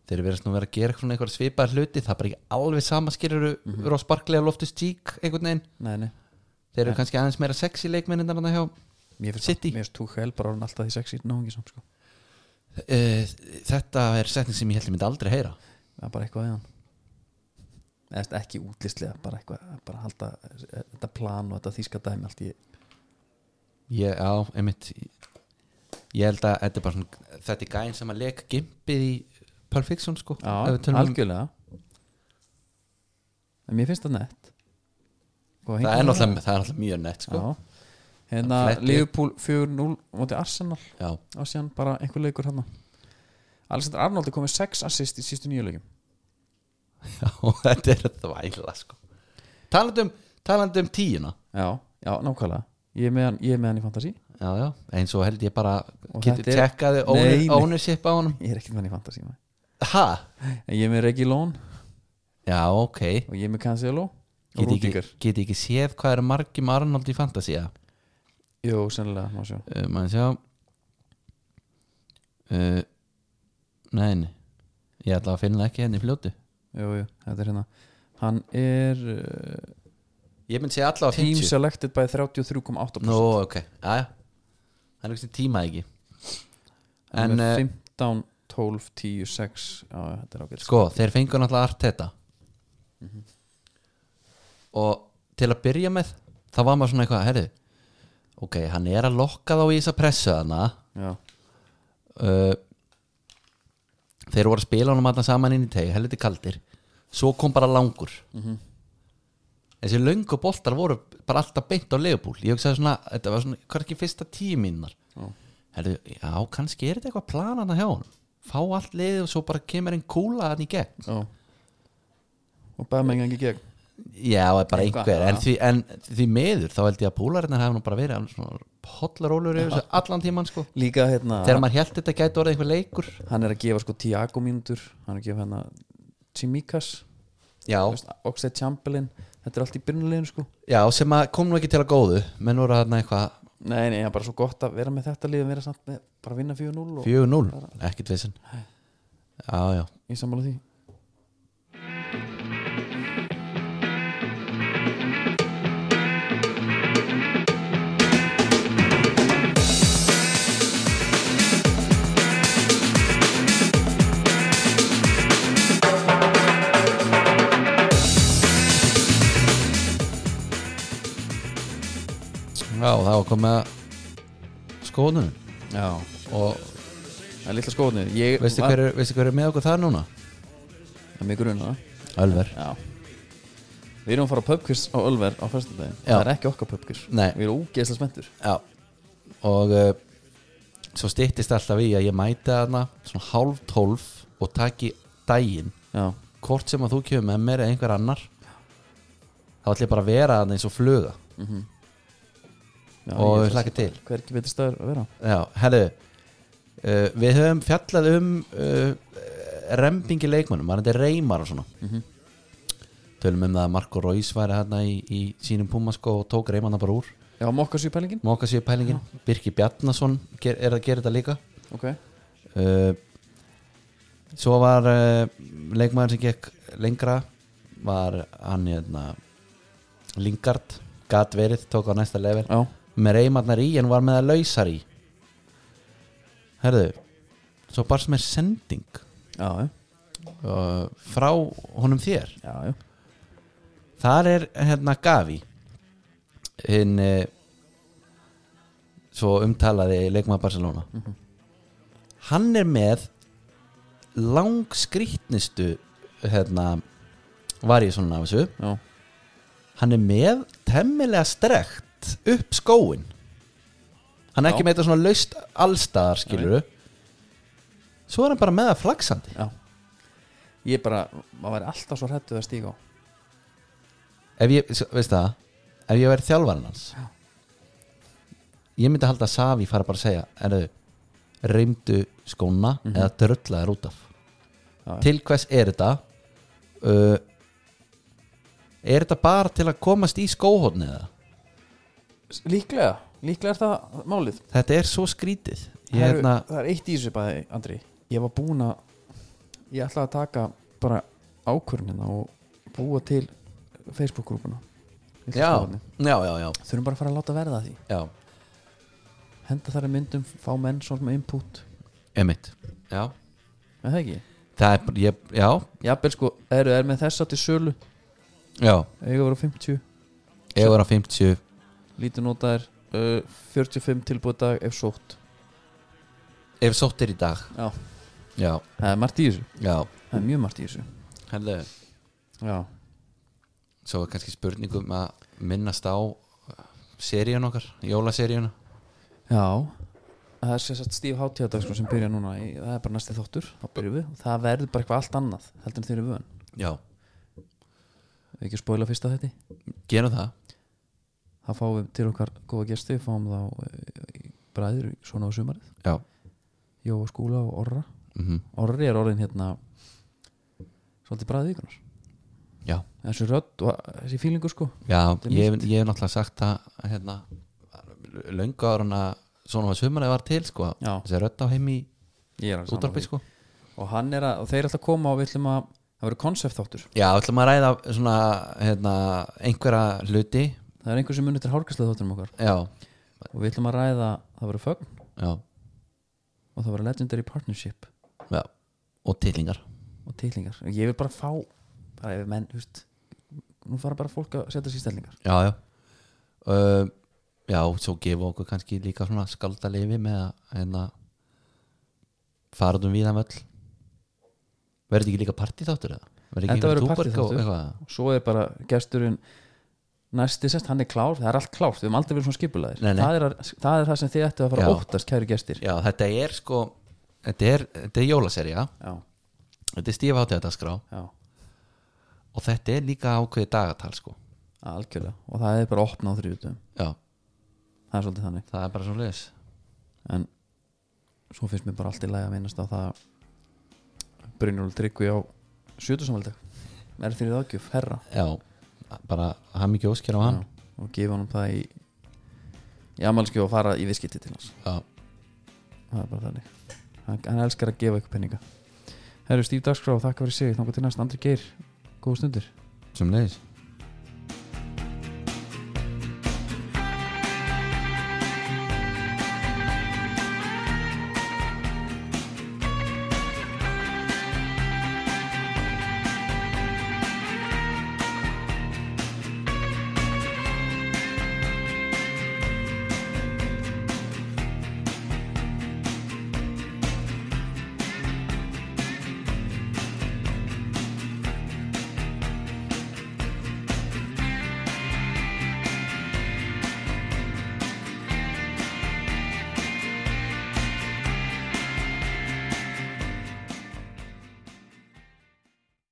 þeir eru verið svona að vera að gera svona eitthvað svipaðar hluti það er bara ekki alveg sama skilur mm
Mhm.
-hmm. á sparklega loftus tík einhvern veginn
nei, nei,
þeir eru kannski aðeins meira sexy leikmennir þarna hjá
mér finnst
City.
það, mér finnst Tuchel bara orðinn alltaf því sexy náungi samt sko,
uh, þetta er setning sem ég held ég myndi aldrei heyra
það er bara eitthvað eðan eða þú veist, ekki útlistlega bara eitthvað, bara halda e, þetta plan og þetta þýska dæmi allt í
ég, já, einmitt ég held að þetta er bara svona þetta er gæn sem að leika gimpið í Pulp Fiction sko
já,
Ef við tölum um-
algjörlega en mér finnst það nett Góð
það, er náttúrulega, það er náttúrulega mjög nett sko já,
Já. hérna
Hann fletti.
Liverpool 4-0 móti Arsenal
já,
á síðan bara einhver leikur hérna Alexander Arnold er komið 6 assist í sístu nýju leikum
(laughs) þetta er þvæla sko talandi um, talandi um tíuna
já, já, nákvæmlega ég er með hann, ég er með hann í fantasi
já, já, eins og held ég bara
Og
geti
þetta er-
tjekkaði
Nei, nei.
ownership á honum
ég er ekkert með hann í fantasi en
ha,
ég er með Reggie Lone
já, ok
og ég er með Cancelo og
geti ekki,
Rúdíker
geti ekki séð hvað er margum Arnold í Fantasía
jú, sennilega, má sjá
uh, maður sjá uh, nei, nei ég ætla að finna það ekki henni í fljótu
jú, jú, þetta er hérna hann er uh,
Ég myndi segja allavega
team
50
selected by 33,8%
Nú, ok, aðja Það er einhvers veginn tíma ekki
en
En uh,
15, 12, 10, 6 já, já, þetta er ágætt
sko, þeir fengur náttúrulega Arteta Og til að byrja með þá var maður svona eitthvað, herri Ok, hann er að lokka þá í þessa pressu hana
já,
uh, Þeir voru að spila honum alltaf saman inn í tegi, helviti kaldir Svo kom bara langur Þessi löngu boltar voru bara alltaf beint á leifbúl Ég hugsaði svona, þetta var svona, hvað er ekki fyrsta tíu mínunar
já,
Herðu, já, kannski er þetta eitthvað planana hjá hann Fá allt liðið og svo bara kemur einn kúla hann í gegn
já. og bæða með engan í gegn
Já, eða bara
Eitthvað,
einhver en
já.
því, en því meður, þá held ég að púlarinnar hefði nú bara verið alveg svona hotlarólur yfir þessu allan tíman sko
líka hérna
Þegar maður held þetta gæti orðið einhver leikur
hann er að gefa sko Tiago mínútur hann er að gefa hérna Chimikas
Já,
Oxlade Chamberlain þetta er allt í byrnuleginu sko
já sem að kom nú ekki til að góðu menn voru þarna eitthvað
Nei, nei, það er bara svo gott að vera með þetta lið en vera samt með, bara að vinna 4-0 og
4-0, ekkert vissin Já, já,
ég sammála því
já, það var komið að skóðunum
Já,
og
það er litla skoðnir ég,
veistu hver, er- veistu hver er með okkur þar núna?
Það er mjög grunna
Ölver
Já Við erum að fara á pubquiz á Ölver á fyrstundaginn
Já.
Það er ekki okkar pubquiz
Nei.
Við erum ógeðslega spenntur
Já Og uh, svo styttist alltaf í að ég mæti hana svona hálf tólf og taki daginn
Já,
hvort sem að þú kemur með mér eða einhver annar þá ætlum ég bara að vera hana eins og fluga
já
Og
ég
við hlakka til.
Hver ekki betur stöður að vera á?
Já, herðu uh, Við höfum fjallað um uh, rempingi leikmönnum, var þetta reymar og svona Tölum um það að Marko Róis væri hérna í, í sínum púmasko og tók reymanna bara úr
Já, mokka sér pælingin
Móka sér pælingin, Birki Bjarnason ger, er að gera þetta líka
Ok
uh, Svo var uh, leikmaður sem gekk lengra var hann hérna Lingard, gat verið tók á næsta level
Já,
með reymarnar í en var með að lausar í herðu svo barst mér sending
já, já,
uh, frá honum þér
já, já.
þar er hérna Gavi hinn uh, svo umtalaði leikmaður Barcelona hann er með langskrýtnistu hérna var ég svona af þessu
já.
hann er með temmilega strekt upp skóin hann er ekki
Já.
með þetta svona laust allstaðar skilur svo er hann bara með það flaksandi
Já Ég bara, maður væri alltaf svo hrættuð að stíga á
ef ég, s- veist það ef ég verið þjálfarinn hans
Já.
ég myndi halda að Savi fara bara að segja erðu, reymdu skóna eða drölla þér út af
Mhm. Já.
til hvers er þetta uh, er þetta bara til að komast í skóhóðni eða
S- Líklega, líklega er það málið
þetta er svo skrítið ég,
Heru,
hérna,
Það er eitt í þessu bæði, Andri Ég var búin að Ég ætlaði að taka bara ákvörnina og búa til Facebook-grúpuna Litla
já,
skoðanir.
já, já, já
Þurfum bara að fara að láta verða að því
Já,
Henda þar að myndum, fá menn svona með input
emitt Já,
Er það ekki?
það er, bara- ég, já,
Jafnvel sko, eru er með þessa til sölu
já
Eiga voru 50,
Ég var á 50
lítið notaðir uh, 45 tilbúið dag ef sótt
Ef sótt er í dag
Já,
Já,
það er margt í þessu
já
Það er mjög margt í þessu
Hello.
Já,
Svo er kannski spurningum að minnast á seríun okkar, jólaseríuna
Já. Það er sérstætt stíf hátíðardag sko, sem byrja núna í, Það er bara næsti þáttur þá byrjum við. Það verður bara eitthvað allt annað heldur en þeir eru vön
Já,
Við ekki að spóla fyrsta þetta
gerum það
Það fáum við til okkar góða gesti Fáum þá eh, í bræður í svona á sumarið
Já,
Jóa skúla og orra
mm
Orri er orðin hérna Svolítið bræðið ykkurnar
já,
Þessi rödd og þessi fílingur sko
já
Þetta er
ég, hef- ég hef náttúrulega sagt það hérna, löngu ára hana svona var sumarið var til sko
Já.
þessi rödd á heim í
Ég er alveg sammála
útarpi
því.
sko
Og hann er að, og þeir er alltaf að koma og við ætlum að Það verður konsept þáttur
Já, ætlum að ræða svona hérna, einhverja hluti
Það er einhver sem munið til hálfgæslega þátturum okkar
Já,
Og við ætlum að ræða, það verður fögn
já,
og það verður legendary partnership
já og tillingar
og titlingar og ég vil bara fá bara ef menn, þú veist nú fara bara fólk að setja sér stellingar
já, já uh, já, svo gefa okkur kannski líka svona skaldalifi með að hérna, fara út um víðan völl verður þetta ekki líka partíþáttur eða? verður
Þetta
ekki einhver
verður
túborg og
partíþáttur.
eitthvað?
og svo er bara gesturinn næsti sest, hann er klár, það er allt klárt við höfum aldrei verið svona skipulaðir
Nei, nei.
Það, er að, það er það sem þið ættu að fara
Já.
að óttast kæru gestir
já, þetta er sko þetta er, þetta er jólaserja
já,
þetta er stífa hátíðardaskrá
já,
og þetta er líka ákveði dagatal sko
algjörlega og það er bara opnað á þrjúðum
já,
það er svolítið þannig
það er bara svo leis
en svo finnst mér bara allt í lagi að minnast á það Brynjólf Tryggvi á sjötusamvaldag er fyrir það ágjöf, herra
já, bara hafði mikið óskjör á hann
Já, og gefa honum það í í amalskjöf og fara í viðskipti til hans
Já.
það er bara þannig hann, hann elskar að gefa ykkur penninga Herru Stíf Dagskrá, þakka fyrir sig, þangar til næst Andri Geir, góða stundir
sem leiðis